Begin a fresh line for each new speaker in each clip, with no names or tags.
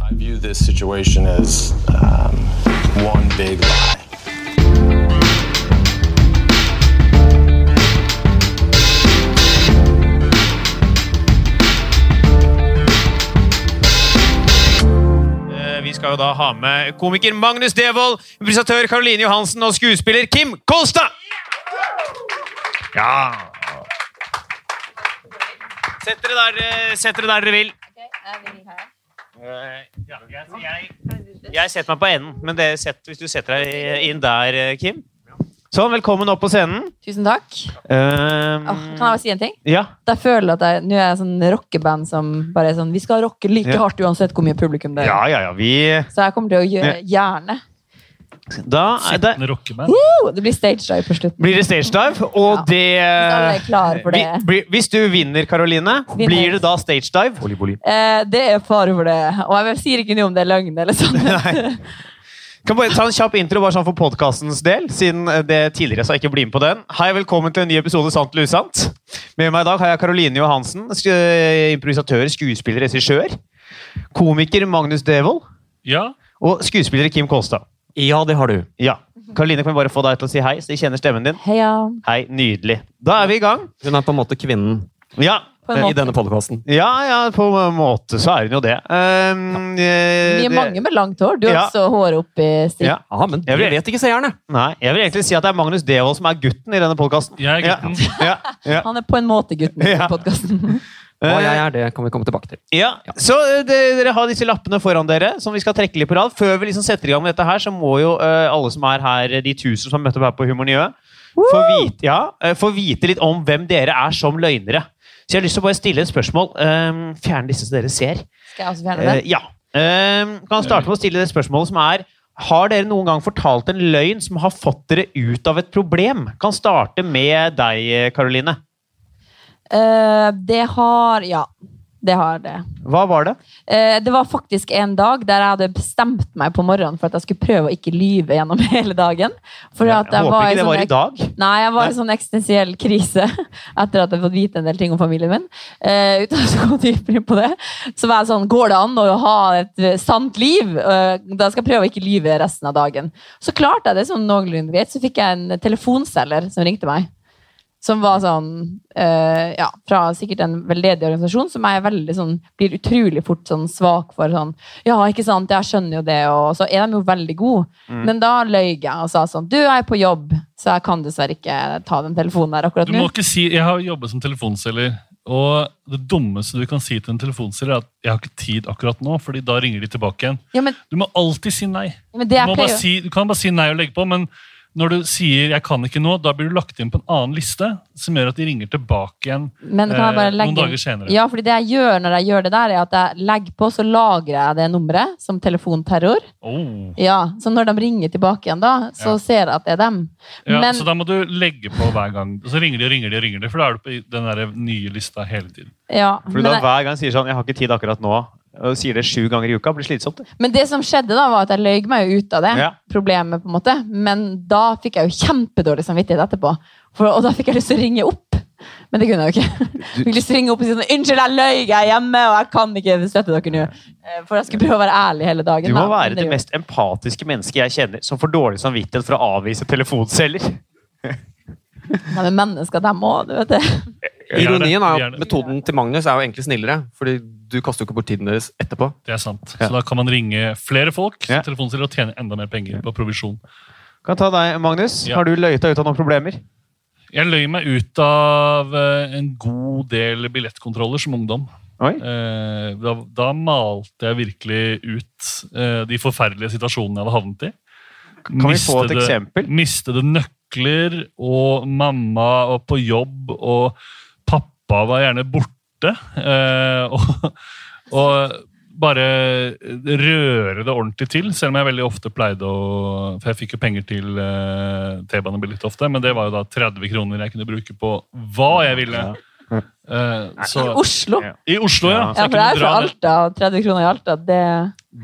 I view this situation as um, one big lie.
Eh, Vi skal jo da ha med komiker Magnus Devold, improvisatør Karoline Johansen og skuespiller Kim Kolstad! Ja Sett dere der, eh, sett dere, der dere vil. Eh, ja, jeg- Jeg, jeg setter meg på enden, men dere sett- hvis du setter deg inn der, eh, Kim Sånn, velkommen opp på scenen.
Tusen takk.
Ehm,
Åh, kan jeg bare si en ting?
ja.
At Jeg føler at jeg, Nå er jeg sånn rockeband som bare er sånn Vi skal rocke like
Ja.
hardt uansett hvor mye publikum det er.
ja, ja, ja. Vi
Så jeg kommer til å gjøre gjerne.
Da er det,
Med rockeband.
Oh, det blir stage dive på slutten.
blir det stage dive, og
Hvis alle
det
er klare for det.
Vi- blir- Hvis du vinner, Karoline,
Vinner.
blir det da stage dive?
Eh, det er fare for det. Og jeg vet- sier ikke noe om det er løgn eller sånn.
Nei. Kan bare ta en kjapp intro bare sånn for podkastens del, siden eh, det tidligere så jeg ikke blir med på den. Hei, velkommen til en ny episode Sant eller usant. Med meg i dag har jeg Karoline Johansen, sk- eh, improvisatør, skuespiller, regissør. Komiker Magnus Devold
Ja.
og skuespiller Kim Kolstad.
Ja, det har du.
Ja. Karoline, kan vi bare få deg til å si hei, så de kjenner stemmen din?
Heia.
Hei, nydelig. Da er vi i gang.
Hun er på en måte kvinnen
Ja.
På en
eh, i
måte.
denne podkasten.
Ja, ja, på en måte så er hun jo det. Um, eh,
Vi er
det-
mange med langt hår. Du har
Ja.
også håret opp i strikk.
Ja.
Ja, men
Jeg
jeg
vet-
vet ikke seerne!
Nei, jeg vil egentlig si at det er Magnus Devold som er gutten i denne podkasten.
Jeg er gutten.
Ja, ja,
Han er på en måte gutten i
Ja.
podkasten.
Hva
Eh,
jeg er, det kan vi komme tilbake til.
ja. Så eh, de, dere har disse lappene foran dere som vi skal trekke litt på rad. Før vi liksom setter i gang med dette her, så må jo eh, alle som er her, eh, de tusen som har møtt opp her på Humorniø, få vite, ja, eh, få vite litt om hvem dere er som løgnere. Så jeg har lyst til å bare stille et spørsmål. Um, Fjerne disse som dere ser.
Skal jeg også fjerne
Eh,
den?
ja. Eh, kan starte med å stille det spørsmålet som er har dere noen gang fortalt en løgn som har fått dere ut av et problem? Kan starte med deg, Karoline.
Eh, det har Ja, det har det.
Hva var det?
Eh, det var faktisk en dag der jeg hadde bestemt meg på morgenen for at jeg skulle prøve å ikke lyve gjennom hele dagen. For at jeg,
håper
var
ikke det var
sånn
i dag.
Nei, jeg var i sånn eksistensiell krise etter at jeg hadde fått vite en del ting om familien min. Eh, uten at jeg skal gå dypere inn på det. Så var jeg sånn, går det an å ha et eh, sant liv? Eh, da skal jeg prøve å ikke lyve resten av dagen. Så klarte jeg det sånn noenlunde greit. Så fikk jeg en telefonselger som ringte meg. Som var sånn, eh, ja, fra sikkert en veldedig organisasjon, som jeg er veldig sånn, blir utrolig fort sånn svak for. sånn, Ja, ikke sant, jeg skjønner jo det, og så er de jo veldig gode.
Mm.
Men da løy jeg og sa sånn, du, jeg er på jobb, så jeg kan dessverre ikke ta den telefonen her akkurat
Du må
nå.
ikke si Jeg har jobbet som telefonselger. Og det dummeste du kan si til en telefonselger, er at jeg har ikke tid akkurat nå. fordi da ringer de tilbake igjen.
Ja, men,
Du må alltid si nei.
men
Du,
det jeg
må
pleier
bare si, du kan bare si nei og legge på, men når du sier 'jeg kan ikke nå', da blir du lagt inn på en annen liste som gjør at de ringer tilbake igjen
Men kan jeg
eh,
bare legge
noen
inn-
dager senere.
Ja, fordi det jeg gjør når jeg gjør det der, er at jeg legger på, så lagrer jeg det nummeret som telefonterror.
Oh.
Ja, Så når de ringer tilbake igjen da, så
Ja.
ser jeg at det er dem.
Ja,
Men-
Så da må du legge på hver gang. Og så ringer de og ringer de, og ringer de, for da er du på den der nye lista hele tiden.
Ja,
For
men,
da
jeg,
hver gang sier sånn 'jeg har ikke tid akkurat nå', og sier det sju ganger i uka, blir slitsomt. det.
men det som skjedde, da, var at jeg løy meg jo ut av det
Ja.
problemet. på en måte. Men da fikk jeg jo kjempedårlig samvittighet etterpå. For, og da fikk jeg lyst til å ringe opp. Men det kunne jeg jo ikke. Jeg fikk lyst til å ringe opp og si sånn, unnskyld, jeg løy, jeg er hjemme, og jeg kan ikke støtte dere nå. Eh, For jeg skulle prøve å være ærlig hele dagen.
Du må
da. Men
være
det
det
gjorde-
mest empatiske mennesket jeg kjenner som får dårlig samvittighet for å avvise telefonselger.
Nei, men mennesker, dem òg, du vet det.
Vi er det,
Ironien er
vi er
jo at
det.
Metoden til Magnus er jo egentlig snillere, fordi du kaster jo ikke bort tiden deres etterpå.
Det er sant.
Ja.
Så da kan man ringe flere folk
Ja.
som telefonselger og tjene enda mer penger på provisjon.
Kan ta deg, Magnus.
Ja.
Har du løyet deg ut av noen problemer?
Jeg løy meg ut av eh, en god del billettkontroller som ungdom.
Oi.
Eh, Da, da malte jeg virkelig ut eh, de forferdelige situasjonene jeg hadde havnet i.
Kan vi få et
Mistede-
eksempel?
Mistede nøkler, og mamma var på jobb, og pappa var gjerne borte. eh, Og, og bare røre det ordentlig til, selv om jeg veldig ofte pleide å For jeg fikk jo penger til eh, T-banebillett ofte, men det var jo da 30 kroner jeg kunne bruke på hva jeg ville. Eh,
I
så-
Oslo.
Ja.
i Oslo, ja.
Ja.
Ja,
Så jeg
for det er fra
kunne dra ned.
Alta. og 30 kroner i Alta. Det,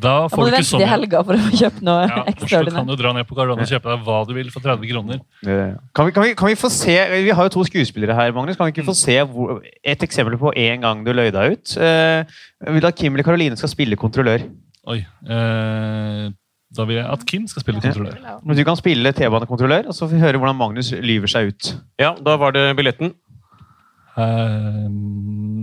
Da
jeg må
får du ikke
vente
sånn.
til helga for å få kjøpt noe
Ja, Oslo kan
ekstraordinært.
du dra ned på Gardermoen og kjøpe deg hva du vil for 30 kroner.
Kan vi, kan, vi, kan vi få se Vi har jo to skuespillere her, Magnus. Kan vi
Mm.
ikke få se hvor, et eksempel på en gang du løy deg ut? Eh, Jeg vil at Kim eller Karoline skal spille kontrollør.
Oi. Eh, da vil jeg at Kim skal spille kontrollør.
Men du kan spille T-banekontrollør, og så får vi høre hvordan Magnus lyver seg ut.
Ja, da var det billetten.
Eh, Ehm,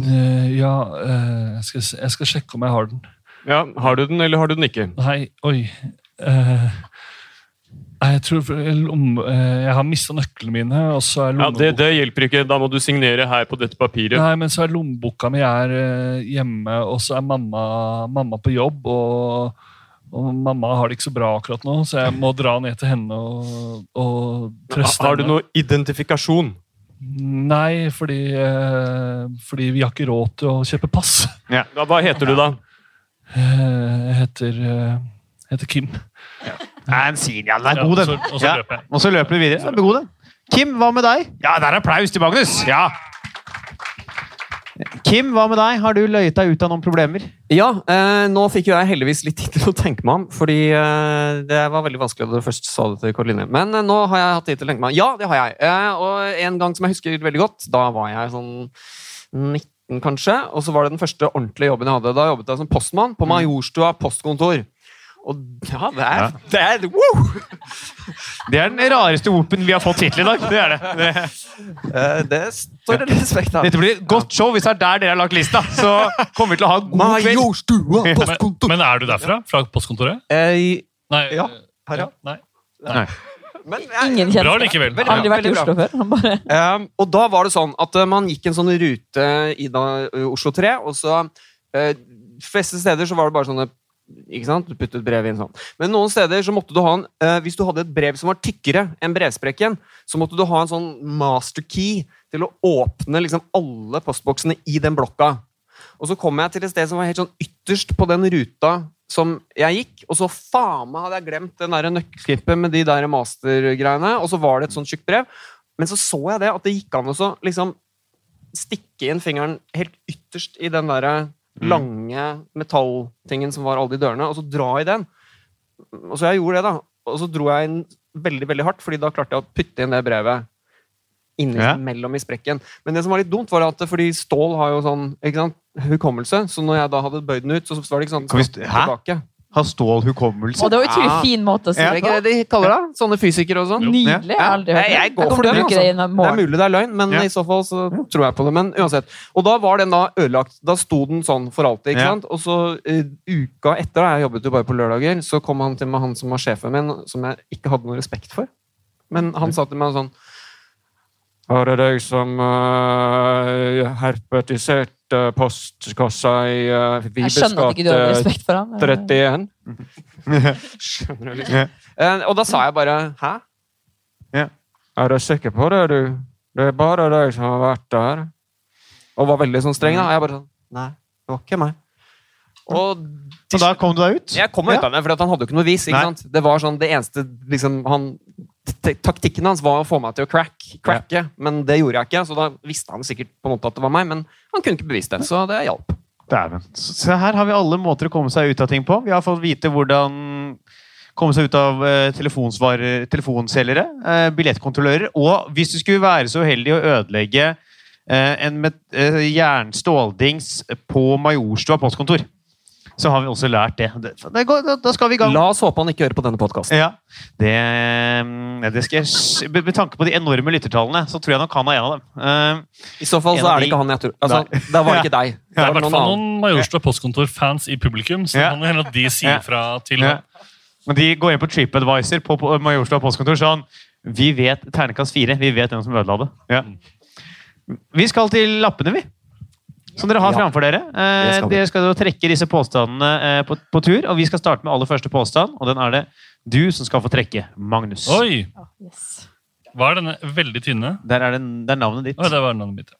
eh, ja eh, jeg, skal, se- jeg skal sjekke om jeg har den.
Ja, Har du den, eller har du den ikke?
Nei, oi. Eh, nei, jeg tror lomme, eh, Jeg har mista nøklene mine, og så er
Ja,
lommeboka
det, det hjelper ikke. Da må du signere her på dette papiret.
Nei, men så er lommeboka mi er eh, hjemme, og så er mamma, mamma på jobb. Og, og mamma har det ikke så bra akkurat nå, så jeg må dra ned til henne og, og
Ha,
trøste
har du
henne.
noe identifikasjon?
Nei, fordi, eh, fordi vi har ikke råd til å kjøpe pass.
Ja, hva heter du, da?
Eh, Jeg heter, eh, heter Kim.
Nei, Ah, en sin, ja, den er
Ja,
god, den.
så- og så
Ja,
løper jeg.
Og så løper du videre. Den er god, den. Kim, hva med deg? Ja, der er applaus til Magnus! Ja! Kim, hva med deg? Har du løyet deg ut av noen problemer?
Ja, eh, nå fikk jo jeg heldigvis litt tid til å tenke meg om, fordi eh, det var veldig vanskelig da du først sa det til Karoline. Men eh, nå har jeg hatt tid til å tenke meg om. Ja, det har jeg. Eh, og en gang som jeg husker veldig godt, da var jeg sånn 19, kanskje, og så var det den første ordentlige jobben jeg hadde. Da jobbet jeg som postmann på Majorstua postkontor. Og ja, det er, det er woo!
Det er den rareste open vi har fått hittil i dag. Det er det. det.
Eh, det står det respekt av.
Dette blir et godt show hvis det er der dere har lagt lista. Så kommer vi til å ha en god kveld.
Majorstua
Men,
postkontor.
men er du derfra? Fra postkontoret?
Eh,
Nei.
Ja,
eh,
her, ja.
Nei.
men jeg,
Ingen
Bra
kjennskap.
likevel.
Veldig
Ja.
Aldri vært i
veldig bra.
Oslo før. Han bare
Um, og da var det sånn at uh, man gikk en sånn rute i da, uh, Oslo 3, og så uh, fleste steder så var det bare sånne ikke sant? Du puttet brevet inn sånn. Men noen steder så måtte du ha en uh, Hvis du hadde et brev som var tykkere enn brevsprekken, så måtte du ha en sånn master key til å åpne liksom alle postboksene i den blokka. Og så kom jeg til et sted som var helt sånn ytterst på den ruta som jeg gikk, og så faen meg hadde jeg glemt den der nøkkelknippet med de der mastergreiene, og så var det et sånt tjukt brev. Men så så jeg det at det gikk an å så liksom stikke inn fingeren helt ytterst i den derre lange metalltingen som var alle de dørene, og så dra i den. Og så jeg gjorde det, da. Og så dro jeg inn veldig, veldig hardt, fordi da klarte jeg å putte inn det brevet inni
Ja.
mellom i sprekken. Men det som var litt dumt, var at fordi stål har jo sånn ikke sant, hukommelse, så når jeg da hadde bøyd den ut, så var det ikke sånn
Kan vi st- Hæ?
tilbake.
Har stål hukommelse?
Og det var utrolig
Ah.
Ja.
fin måte å si
Er det
det på.
ikke det de kaller det? Sånne fysikere og sånn?
Nydelig. Jeg har aldri hørt
Nei,
det.
jeg går for
kommer til å
den,
bruke
altså.
det innen
Det er
morgen.
mulig det er løgn, men
Ja.
i så fall så tror jeg på det. Men uansett. Og da var den da ødelagt. Da sto den sånn for alltid. ikke
Ja.
sant? Og så eh, uka etter, da, jeg jobbet jo bare på lørdager, så kom han til meg, han som var sjefen min, som jeg ikke hadde noe respekt for. Men han sa til meg sånn Her er deg som eh, herpetiserte postkassa i uh,
Jeg skjønner at ikke du har respekt for ham.
31. Skjønner du liksom? Eh, og da sa jeg bare Hæ?
Ja.
Er du sikker på det, du? Det er bare deg som har vært der. Og var veldig sånn streng, da. Og jeg bare sånn Nei, det var ikke meg. Og
Så da kom du deg ut?
jeg kom meg ut av det, for han hadde jo ikke noe vis. ikke
Nei.
sant? Det var sånn, det eneste liksom, han, t- Taktikken hans var å få meg til å crack, cracke, men det gjorde jeg ikke. Så da visste han sikkert på en måte at det var meg, men han kunne ikke bevise det. Så det hjalp.
Dæven. Så så her har vi alle måter å komme seg ut av ting på. Vi har fått vite hvordan komme seg ut av eh, telefonsvarer- telefonselgere, eh, billettkontrollører, og hvis du skulle være så uheldig å ødelegge eh, en met eh, jernståldings på Majorstua postkontor, så har vi også lært det. det, det går, da, da skal vi i gang.
La oss håpe han ikke hører på denne podkasten.
Ja, det, mm, det skal jeg, s- med med tanke på de enorme lyttertallene, så tror jeg nok han er en av dem. Eh,
I så fall
En
så
av
er det
de-
ikke han jeg tror. Altså, da var det ikke deg.
Det er
Da
i
var det
hvert
noen
fall
annen.
noen Majorstua postkontor-fans i publikum, så det
Ja.
kan hende at de
Ja.
sier fra til
Ja. Men de går inn på TripAdvisor på, på Majorstua postkontor sånn Vi vet ternekast fire. Vi vet hvem som ødela det. Ja. Vi skal til lappene, vi. Som dere har
Ja.
framfor dere. Eh,
Det skal vi.
dere skal jo trekke disse påstandene eh, på, på tur. Og vi skal starte med aller første påstand, og den er det du som skal få trekke. Magnus.
Oi!
Yes.
Hva er denne veldig tynne?
Der er det, det er navnet ditt.
Oi, det var navnet mitt.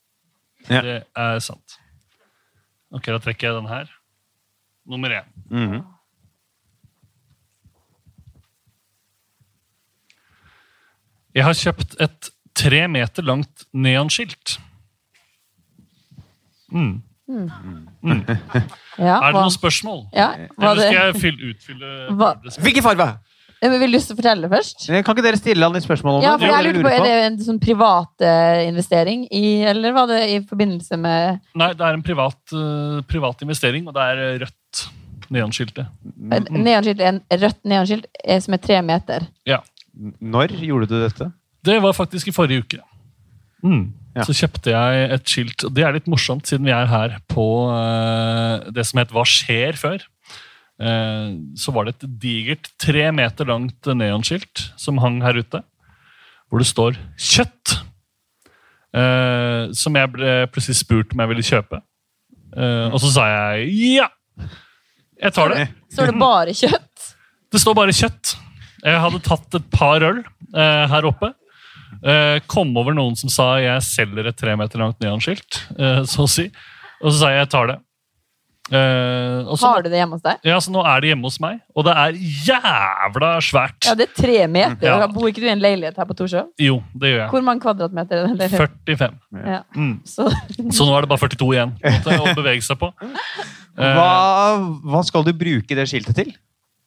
Ja.
Ja. Det er sant. Ok, da trekker jeg den her. Nummer én.
Mhm.
Jeg har kjøpt et tre meter langt neonskilt. Mm.
Ja,
Er det
hva-
noen spørsmål?
Ja, var
Eller
det,
skal jeg fylle, utfylle
Hva-
det sp-
Hvilken farge?
Eh, men Vil du lyst til å fortelle først?
Men Eh, Kan ikke dere stille han litt spørsmål om
Ja,
det?
for jeg lurte på, Er det en sånn privat eh, investering, i, eller var det i forbindelse med
Nei, det er en privat, eh, privat investering, og det er eh, rødt neonskiltet.
et neonskilt, en rødt neonskilt eh, som er tre meter?
Når gjorde du dette?
Det var faktisk i forrige uke. Mm.
Ja.
Så kjøpte jeg et skilt. og Det er litt morsomt, siden vi er her på eh, det som het Hva skjer før. Eh, så var det et digert tre meter langt neonskilt som hang her ute, hvor det står 'kjøtt'. eh, som jeg ble plutselig spurt om jeg ville kjøpe. Eh, og så sa jeg ja! Jeg tar det.
Står det bare kjøtt?
Det står bare kjøtt. Jeg hadde tatt et par øl eh, her oppe. Eh, kom over noen som sa jeg selger et tre meter langt neonskilt. Eh, så å si. Og så sa jeg jeg tar det. Eh, og så,
Har du det hjemme hos deg?
Ja, så nå er det hjemme hos meg, og det er jævla svært.
Ja, det er tre meter.
Ja.
Da Bor ikke du i en leilighet her på Torshov?
Jo, det gjør jeg.
Hvor mange kvadratmeter er den leiligheten?
45.
Ja.
Mm.
Så,
Så nå er det bare 42 igjen på en måte, å bevege seg på. Eh,
Hva, hva skal du bruke det skiltet til?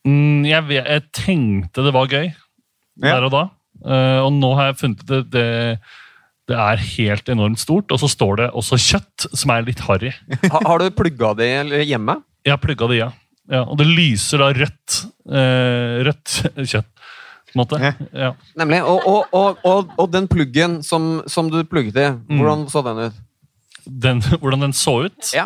Mm, jeg, vet, jeg tenkte det var gøy
Ja.
der og da. Eh, og nå har jeg funnet ut det, det det er helt enormt stort. Og så står det også kjøtt, som er litt harry.
Ha, har du plugga det eller hjemme?
Jeg har plugga det i. Ja. Ja, og det lyser da rødt eh, rødt kjøtt. På en måte. Ja.
Nemlig. Og, og, og, og, og den pluggen som, som du plugget i, hvordan så den ut?
Den, hvordan den så ut,
Ja.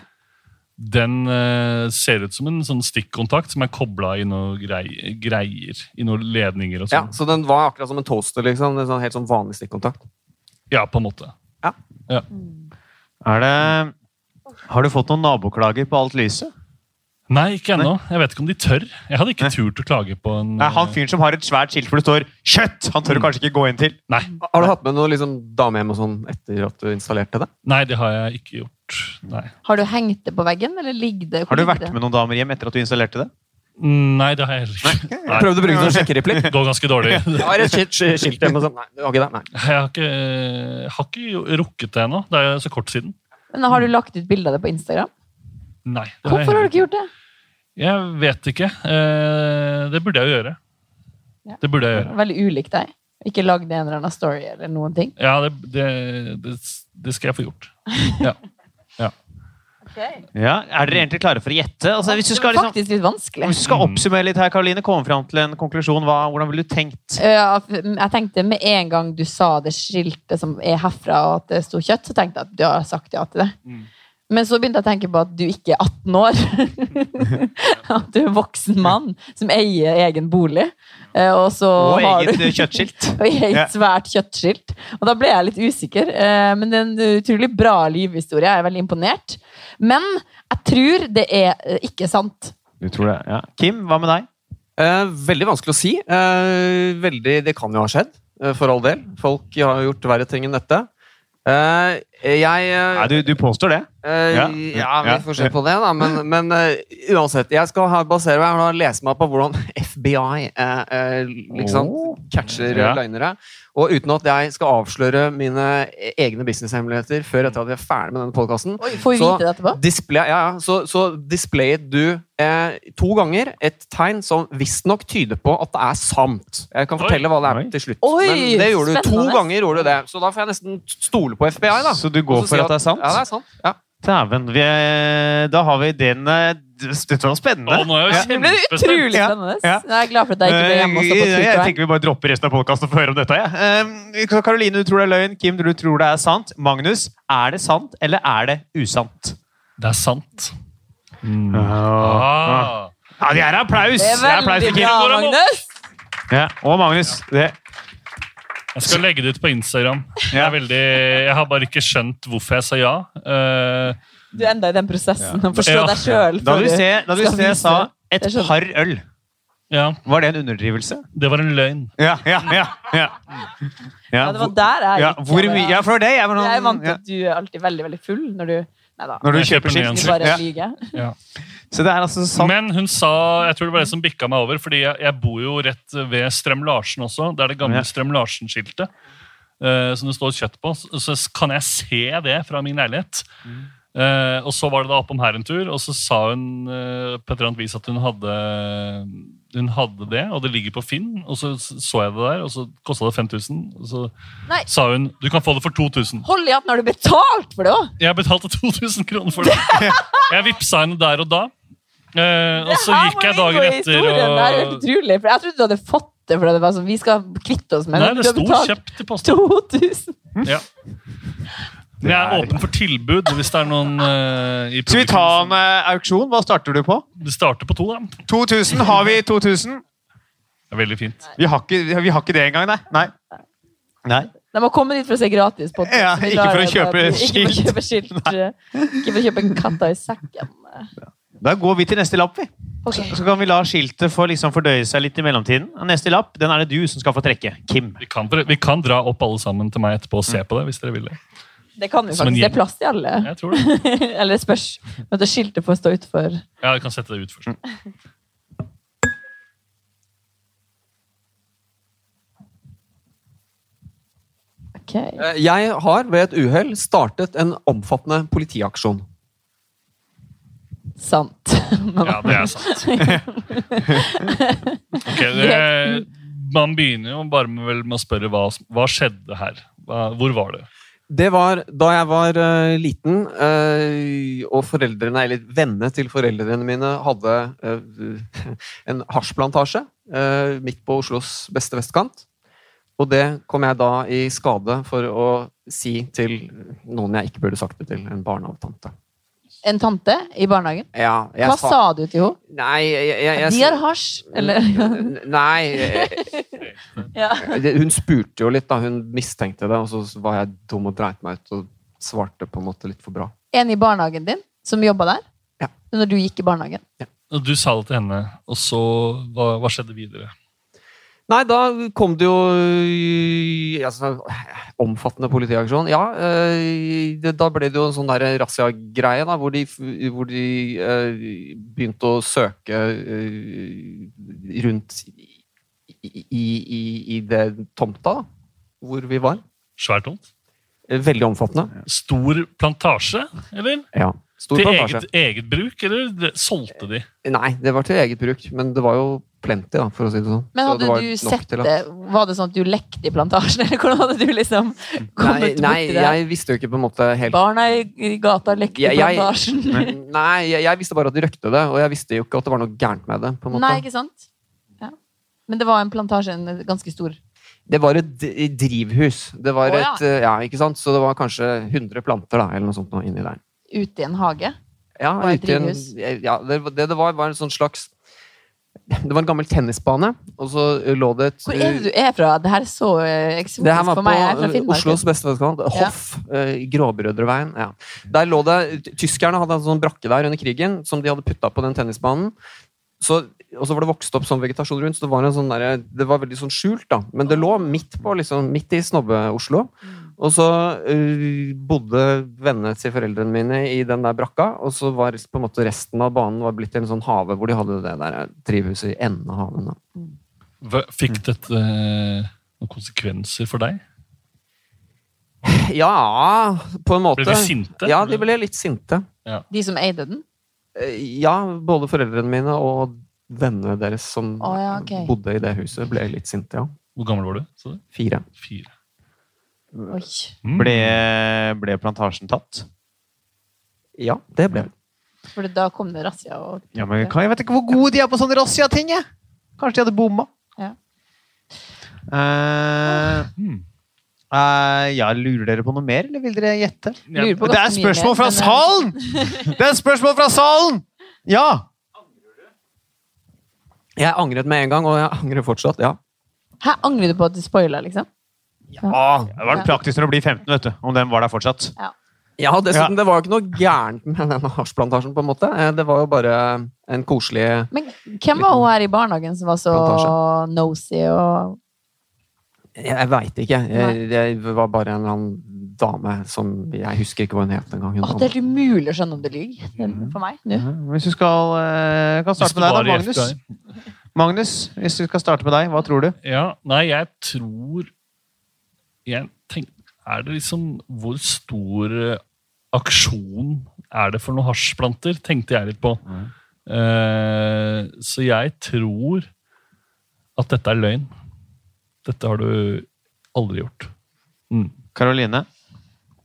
den eh, ser ut som en sånn stikkontakt som er kobla i noe grei, greier. I noen ledninger og
Ja,
sånn.
Så den var akkurat som en toaster? liksom, en sånn, Helt sånn vanlig stikkontakt?
Ja. på en måte.
Er det, har du fått noen naboklager på alt lyset?
Nei, ikke ennå. Jeg vet ikke om de tør. Jeg hadde ikke turt å klage på en eh,
Nei, han fyren som har et svært skilt hvor det står 'kjøtt', han tør du kanskje ikke gå inn til.
Nei,
Har du hatt med noe liksom, dame hjem og sånn etter at du installerte det?
nei, det har jeg ikke gjort. Nei,
har du hengt det på veggen, eller ligger det? hvor
Har du
ligger
vært
det?
med noen damer hjem etter at du installerte det?
nei det har jeg heller ikke. Nei,
Prøvde å bruke det som sjekkereplikk?
det går ganske dårlig. Jeg
Har et skilt, skilt, skilt hjemme og sånn. Nei, det var ikke det. Nei.
har ikke, jeg har ikke rukket det ennå. Det er så kort siden.
Men har du lagt ut bilde av det på Instagram?
Nei, det
Hvorfor har du ikke gjort det?
Jeg vet ikke. Eh, Det burde jeg jo gjøre.
Ja.
Det burde jeg gjøre.
Veldig ulik deg. Ikke lagd en eller annen story eller noen ting.
Ja, det, det, det, det skal jeg få gjort. Ja.
Ja, Er dere egentlig klare for å gjette? Altså, hvis, du
Det
skal,
var
liksom,
faktisk litt vanskelig.
hvis du skal oppsummere litt her, Karoline, komme fram til en konklusjon, hva, hvordan ville du tenkt?
Ja, f- Eh, Jeg tenkte med en gang du sa det skiltet som er herfra, og at det sto kjøtt, så tenkte jeg at du har sagt ja til det.
Mm.
Men så begynte jeg å tenke på at du ikke er 18 år. at du er en voksen mann som eier egen bolig. Eh, Og, så
Og
har
eget
du...
eh, kjøttskilt.
Og
Ja.
eget svært kjøttskilt. Og da ble jeg litt usikker. eh, Men det er en utrolig bra livhistorie. Jeg er veldig imponert. Men jeg tror det er eh, ikke sant.
Du tror det, ja. Kim, hva med deg?
Eh, veldig vanskelig å si. Eh, veldig, det kan jo ha skjedd, eh, for all del. Folk har gjort verre ting enn dette. Eh, jeg eh,
Nei, du, du påstår det.
Eh,
Ja.
ja.
Ja.
vi får se på det, da. Men, men eh, uansett. Jeg skal her basere meg og lese meg på hvordan FBI eh, eh, liksom catcher
Ja.
løgnere. Og uten at jeg skal avsløre mine e-, egne businesshemmeligheter før etter at vi er ferdig med denne podkasten,
Får vi
Så-
vite det etterpå?
display, ja, ja, så, så displayet du eh, to ganger et tegn som visstnok tyder på at det er sant. Jeg kan
Oi.
fortelle hva det er
Oi.
til slutt.
Oi,
men det gjorde du to
spennende.
ganger. gjorde du det Så da får jeg nesten stole på FBI. da
Så du går
Og
for
si
at det er sant?
Ja, det er sant. Ja.
Dæven. vi- Da har vi den eh, Dette var
Å,
spennende.
nå er jeg jo
Det ble
kjempespent.
utrolig
Ja,
spennende.
ja.
Jeg er glad for at jeg ikke ble hjemme og så
Eh,
på
jeg
Twitter.
tenker vi bare dropper resten av podkasten og får høre om dette. jeg. Eh, Karoline, du tror det er løgn. Kim, du tror det er sant. Magnus, er det sant, eller er det usant?
Det er sant.
Ja,
Ah.
det er applaus!
Det
Det
er
er applaus
veldig
til
bra,
Kim.
Magnus!
Ja, og Magnus. Det,
Jeg skal legge det ut på Instagram. Jeg, er veldig, jeg har bare ikke skjønt hvorfor jeg sa ja. Eh,
Du er enda i den prosessen. å Forstå
Ja.
deg sjøl.
da du se, da du
Skal
se
vise.
sa et
Jeg skjønner.
par øl,
ja,
var det en underdrivelse?
det var en løgn.
Ja, ja, ja. ja. ja.
Ja, det var der jeg
ja,
gikk.
hvor mye? Ja, for det jeg var noen-
Jeg er vant til
ja.
at du er alltid veldig veldig full når du Nei da.
Når du
Jeg kjøper
kjøper
ny
skilt.
Du
ansikt.
bare
Ja.
lyver.
Så det er altså sant.
Men hun sa Jeg tror det var det som bikka meg over, fordi jeg, jeg bor jo rett ved Strøm-Larsen også. Det er det gamle
Ja.
Strøm-Larsen-skiltet eh, som det står kjøtt på. Så, så kan jeg se det fra min leilighet.
Mm.
Eh, og så var det da oppom her en tur, og så sa hun eh, på et eller annet vis at hun hadde hun hadde det, og det ligger på Finn. Og så så jeg det der, og så kosta det 5000. Og så
Nei.
sa hun du kan få det for 2000.
Hold i at når du betalt for det òg!
Jeg betalte 2000 kroner for det. Jeg vippsa henne der og da. Eh, og så gikk jeg dagen etter
Det her er helt
og
utrolig, for jeg trodde du hadde fått det fordi det var sånn, vi skal kvitte oss med
Nei,
men
det
du har
sto
betalt
kjøpt i posten.
2000.
Ja. Men jeg er åpen for tilbud hvis det er noen eh, i
Skal vi ta
publikum
en eh, auksjon? Hva starter du på?
som- Det starter på to, da.
2000? Har vi 2000?
Det er veldig fint.
Vi har ikke, vi har ikke det engang, nei. nei. Nei.
De må komme dit for å se gratis podcast.
Ja,
Vi
ikke for å
lar det bare
kjøpe
bli- Ikke for å kjøpe skilt. eh, Ikke for å kjøpe katta i sekken.
Da går vi til neste lapp, vi.
Ok.
Så kan vi la skiltet få liksom fordøye seg litt i mellomtiden. Neste lapp den er det du som skal få trekke. Kim.
Vi kan, vi kan dra opp alle sammen til meg etterpå og se på det hvis dere vil det.
Det kan vi
Som en
faktisk. Det
gjeng.
er plass til alle.
Jeg tror det.
Eller det spørs. Men det skiltet får stå utenfor.
Ja, jeg kan sette det ut først.
Ok.
Eh, Jeg har ved et uhell startet en omfattende politiaksjon.
Sant.
Ja, det er sant. Ok, det, man begynner jo bare med, vel med å spørre hva, som- hva skjedde her. Hva, hvor var det?
Det var da jeg var eh, liten, eh, og foreldrene, eller vennene til foreldrene mine, hadde eh, en hasjplantasje eh, midt på Oslos beste vestkant. Og det kom jeg da i skade for å si til noen jeg ikke burde sagt det til, en barnehagetante.
En tante i barnehagen.
Ja, jeg
Hva sa du til henne?
Nei, jeg, jeg, jeg,
De har hasj! Eller
Nei, jeg,
ja.
Det- Hun spurte jo litt, da. Hun mistenkte det, og så var jeg dum og dreit meg ut og svarte på en måte litt for bra.
En i barnehagen din som jobba der?
Ja.
Når du gikk i barnehagen?
Og Du sa det til henne, og så hva, hva skjedde videre?
Nei, da kom det jo øh, altså, omfattende politiaksjon. Ja, øh, det, da ble det jo en sånn der razzia-greie, da, hvor de, f- hvor de øh, begynte å søke øh, rundt i, i, i, i det tomta da, hvor vi var.
Svært tomt.
Veldig omfattende.
Stor plantasje, eller?
Ja. Stor
Til
plantasje.
eget, eget bruk, eller det- solgte de?
Nei, det var til eget bruk, men det var jo plenty, da, for å si det sånn.
Men
Så
hadde
det var
du
nok
sett
til at-
det? Var det sånn at du lekte i plantasjen? Eller hvordan hadde du liksom
Nei,
kommet
nei
borti det?
jeg visste jo ikke på en måte helt
Barna i, i gata lekte i
Jeg- jeg-
plantasjen.
Nei, jeg, jeg visste bare at de røkte det, og jeg visste jo ikke at det var noe gærent med det. på en måte.
Nei, ikke sant? Ja. Men det var en plantasje, en ganske stor.
Det var et d- drivhus. Det
Å,
var
ja.
et, eh, ja, ikke sant? Så det var kanskje 100 planter da, eller noe sånt nå inni der.
Ute i en hage.
Ja,
Var det
ute i en,
drivhus?
ja det, var- det det var, var en sånn slags Det var en gammel tennisbane, og så eh, lå det et
Hvor er det du er fra? Det her er så eh,
Det her
eksotisk
var
for meg. Jeg er
på
fra
eh,
Finnmark.
Oslos beste vestkant. Hoff. eh, i Gråbrødreveien. Ja. Der lå det, Tyskerne hadde en sånn brakke der under krigen som de hadde putta på den tennisbanen. Så, og så var det vokst opp sånn vegetasjon rundt, så det var, en sånn derre- det var veldig sånn skjult. da. Men det lå midt på, liksom, midt i snobbe-Oslo.
Mm.
Og så eh, bodde vennene til foreldrene mine i den der brakka. Og så var rest- på en måte resten av banen var blitt til en sånn hage hvor de hadde det der eh, drivhuset i enden av haven. da.
Hva- Fikk dette eh, noen konsekvenser for deg?
Ja, på en måte.
Ble de sinte?
Ja, de ble litt sinte.
De som eide den?
Eh, Ja, både foreldrene mine og vennene deres som
Å, ja, ok.
bodde i det huset, ble litt sinte, ja.
Hvor gammel var du? sa du?
Fire.
Fire.
Oi.
Mm.
Ble, ble plantasjen tatt?
Ja, det ble det.
For da kom det razzia og
Ja, men hva- Jeg vet ikke hvor gode de er på sånne razzia-ting. jeg. Kanskje de hadde bomma.
Ja.
Eh,
Mm.
eh, ja, lurer dere på noe mer, eller vil dere gjette?
Ja,
Lurer på
Det er
ganske mye
spørsmål
mer,
fra
men, eh,
salen! Det er spørsmål fra salen! Ja!
Jeg angret med en gang, og jeg angrer fortsatt, ja.
Her angrer du på at du spoila, liksom?
Det var praktisk når det blir 15, vet du. Om den var der fortsatt.
Ja, dessuten, det var jo ikke noe gærent med den hasjplantasjen, på en måte. Eh, Det var jo bare en koselig
Men hvem var hun her i barnehagen som var så
Plantasje.
nosy og
Jeg veit ikke. Jeg, det var bare en eller annen dame som Jeg husker ikke hva hun het engang.
Åh,
Hun
Det er helt umulig å skjønne om du lyver
Mm.
det- for meg nå.
Hvis du skal eh, kan
Hvis
starte
det
med deg, da,
var i
Magnus.
FBI.
Magnus, hvis du skal starte med deg, hva tror du?
Ja, nei, jeg tror Jeg tenker Er det liksom Hvor stor eh, aksjon er det for noen hasjplanter? Tenkte jeg litt på. Eh, så jeg tror Det at dette er løgn. Dette har du aldri gjort. Mm.
Karoline?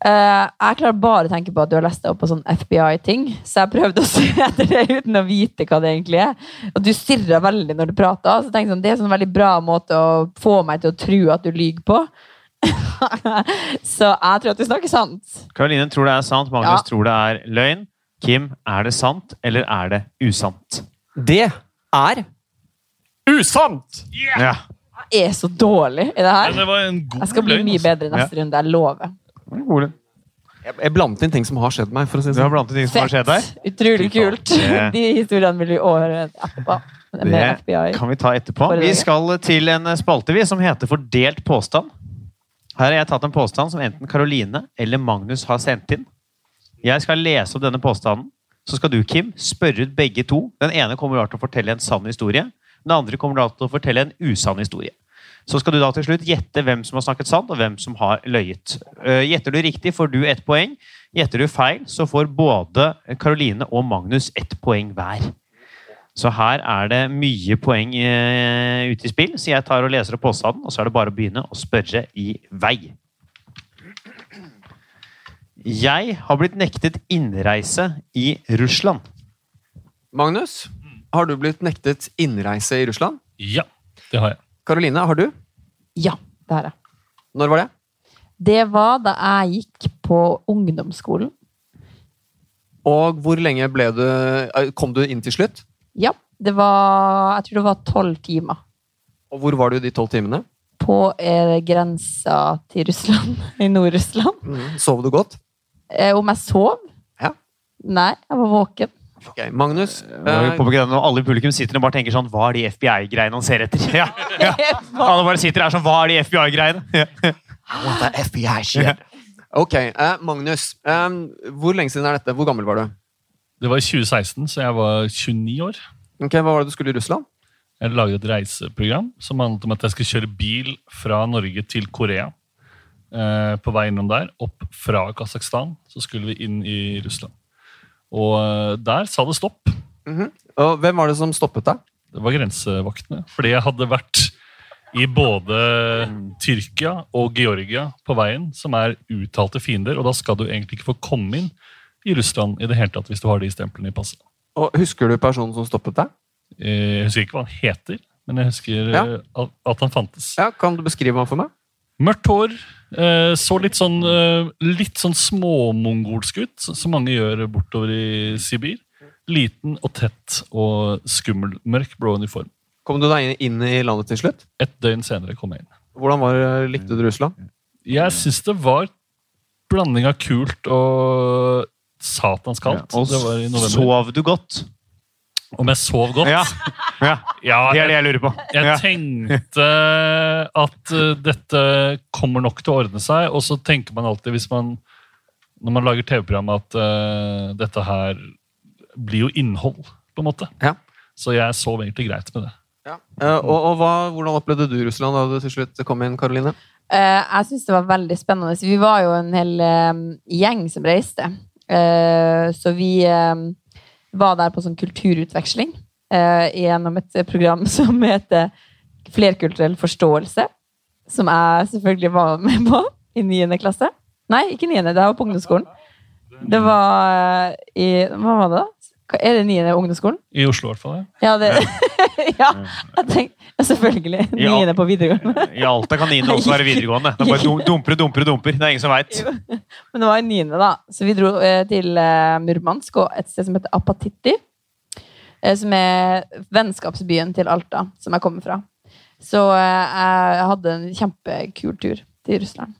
Eh, jeg klarer bare å tenke på at du har lest deg opp på sånn FBI-ting, så jeg prøvde å se etter det uten å vite hva det egentlig er. Og du stirrer veldig når du prater. Så jeg tenkte sånn, Det er en sånn veldig bra måte å få meg til å tro at du lyver på. så jeg tror at du snakker sant.
Karoline tror det er sant, Magnus
Ja.
tror det er løgn. Kim, er det sant, eller er det usant?
Det er usant!
Ja.
Jeg er så dårlig i det
Men
her.
det var en god
Jeg skal bli
løgn,
mye
altså.
bedre neste runde. Jeg lover.
Jeg, jeg blandet inn ting som har skjedd meg. for å si det
Du har
sånn.
blandet ting som har skjedd her.
Utrolig
Fy faen.
kult. De historiene vil vi overhøre etterpå. Med
Det
FBI.
kan vi ta etterpå.
Bare
Vi
det.
skal til en spalte vi som heter Fordelt påstand. Her har jeg tatt en påstand som enten Karoline eller Magnus har sendt inn. Jeg skal lese opp denne påstanden. Så skal du, Kim, spørre ut begge to. Den ene kommer da til å fortelle en sann historie. Den andre kommer da til å fortelle en usann historie. Så skal du da til slutt gjette hvem som har snakket sant, og hvem som har løyet. Eh, Gjetter du riktig, får du ett poeng. Gjetter du feil, så får både Karoline og Magnus ett poeng hver. Så her er det mye poeng eh, ute i spill, så jeg tar og leser opp påstanden, og så er det bare å begynne å spørre i vei. Jeg har blitt nektet innreise i Russland.
Magnus, har du blitt nektet innreise i Russland?
Ja, det har jeg.
Karoline, har du?
Ja, det her er.
Når var det?
Det var da jeg gikk på ungdomsskolen.
Og hvor lenge ble du eh, Kom du inn til slutt?
Ja, det var Jeg tror det var tolv timer
Og hvor var du de tolv timene?
på eh, grensa til Russland, i Nord-Russland.
Mm.
Sov du godt?
Eh, om jeg sov?
Ja.
Nei, jeg var våken.
Ok, Magnus,
Nå må vi
eh,
påpeke det Når alle i publikum sitter og bare tenker sånn Hva er de FBI-greiene han ser etter? Ja, ja. Alle bare sitter her sånn Hva er de FBI-greiene? Ja.
ok, eh, Magnus eh, hvor lenge siden er dette? Hvor gammel var du?
Det var i 2016, så jeg var 29 år.
Ok, Hva var det du skulle i Russland?
Jeg laget et reiseprogram som handlet om at jeg skulle kjøre bil fra Norge til Korea. Eh, på vei innom der, opp fra Kasakhstan, så skulle vi inn i Russland. Og eh, der sa det stopp.
Og hvem var det som stoppet deg?
Det var grensevaktene. Fordi jeg hadde vært i både Tyrkia og Georgia på veien, som er uttalte fiender, og da skal du egentlig ikke få komme inn i Russland i det hele tatt hvis du har de stemplene i passet.
Og Husker du personen som stoppet deg?
Eh, Jeg husker ikke hva han heter, men jeg husker eh,
Ja.
at- at han fantes.
Ja, Kan du beskrive ham for meg?
Mørkt hår. eh, Så litt sånn, eh, litt sånn småmongolsk ut, så- som mange gjør bortover i Sibir. Liten og tett og skummel. Mørk blå uniform.
Kom du deg inn, inn i landet til slutt?
Et døgn senere kom jeg inn.
Hvordan var, eh, likte du Russland?
Jeg
Mm.
syns det var blanding av kult og satans kaldt.
Og
det var i november.
sov du godt?
Om jeg sov godt?
Ja. ja.
Ja,
Det er det
jeg,
jeg lurer på.
jeg
Ja.
tenkte at eh, dette kommer nok til å ordne seg, og så tenker man alltid hvis man når man lager TV-program, at eh, dette her blir jo innhold, på en måte.
Ja.
Så jeg sov egentlig greit med det.
Eh, og og hva, hvordan opplevde du Russland da du til slutt kom inn, Karoline?
Eh, jeg syns det var veldig spennende. Vi var jo en hel eh, gjeng som reiste. Eh, så vi eh, var der på sånn kulturutveksling eh, gjennom et program som heter Flerkulturell forståelse. Som jeg selvfølgelig var med på i 9. klasse. Nei, ikke 9. Det var på ungdomsskolen. Det var eh, i Hva var det, da? Hva- Er det 9. ungdomsskolen?
I Oslo, i hvert fall. ja.
Ja, det, ja jeg tenkte, selvfølgelig.
Ja.
9. på videregående.
I Alta kan niende også være videregående. Det er bare dum- dumper og dumper og dumper. Det er ingen som veit.
Men det var i niende, da. Så vi dro eh, til eh, Murmansk og et sted som heter Apatitti. Eh, som er vennskapsbyen til Alta, som jeg kommer fra. Så eh, jeg hadde en kjempekul tur til Russland.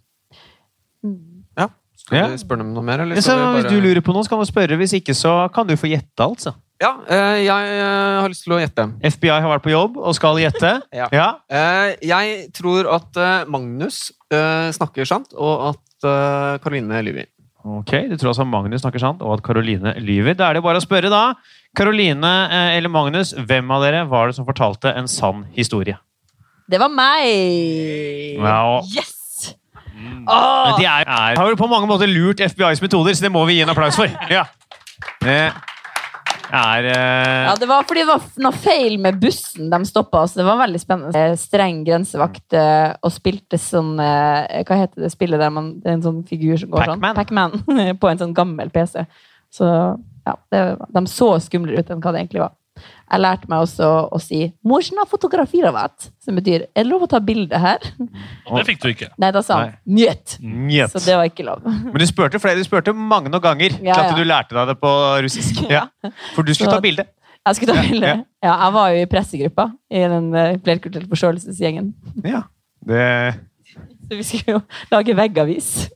Ja, Skal
Ja.
vi spørre dem noe mer? Eller
Ja, Så
skal vi
hvis du
bare-
lurer på noe, så kan du spørre. Hvis ikke, så kan du få gjette, altså.
Ja, eh, jeg eh, har lyst til å gjette.
FBI har vært på jobb og skal gjette.
Ja.
ja.
Eh, jeg tror at eh, Magnus eh, snakker sant, og at eh, Karoline lyver.
Ok, Du tror altså Magnus snakker sant, og at Karoline lyver. Da er det bare å spørre, da. Karoline eh, eller Magnus, hvem av dere var det som fortalte en sann historie?
Det var meg!
Ja.
Yes!
Mm.
Ah.
Men De er, er, har jo på mange måter lurt FBIs metoder, så det må vi gi en applaus for. Ja. Eh, er eh,
Ja, det var fordi det var f- noe feil med bussen de stoppa oss. Det var veldig spennende. Eh, Streng grensevakt eh, og spilte sånn eh, Hva heter det spillet der man, det er en sånn figur som går
Pac-Man.
sånn? Pac-Man. på en sånn gammel PC. Så ja, det, de så skumlere ut enn hva det egentlig var. Jeg lærte meg også å si 'morsen har fotografiravat', som betyr 'er det lov å ta bilde her?'
Og det fikk du ikke.
Nei, da sa han 'njet'.
Njet.
Så det var ikke lov.
Men du spurte flere, du spurte mange noen ganger til
Ja,
at
ja.
du lærte deg det på russisk. Ja. For du skulle
Så-
ta bilde.
Jeg skulle ta bilde.
ja.
Ja, jeg var jo i pressegruppa i den eh, flerkulturelle forståelsesgjengen.
Ja. Det,
Så vi skulle jo lage veggavis.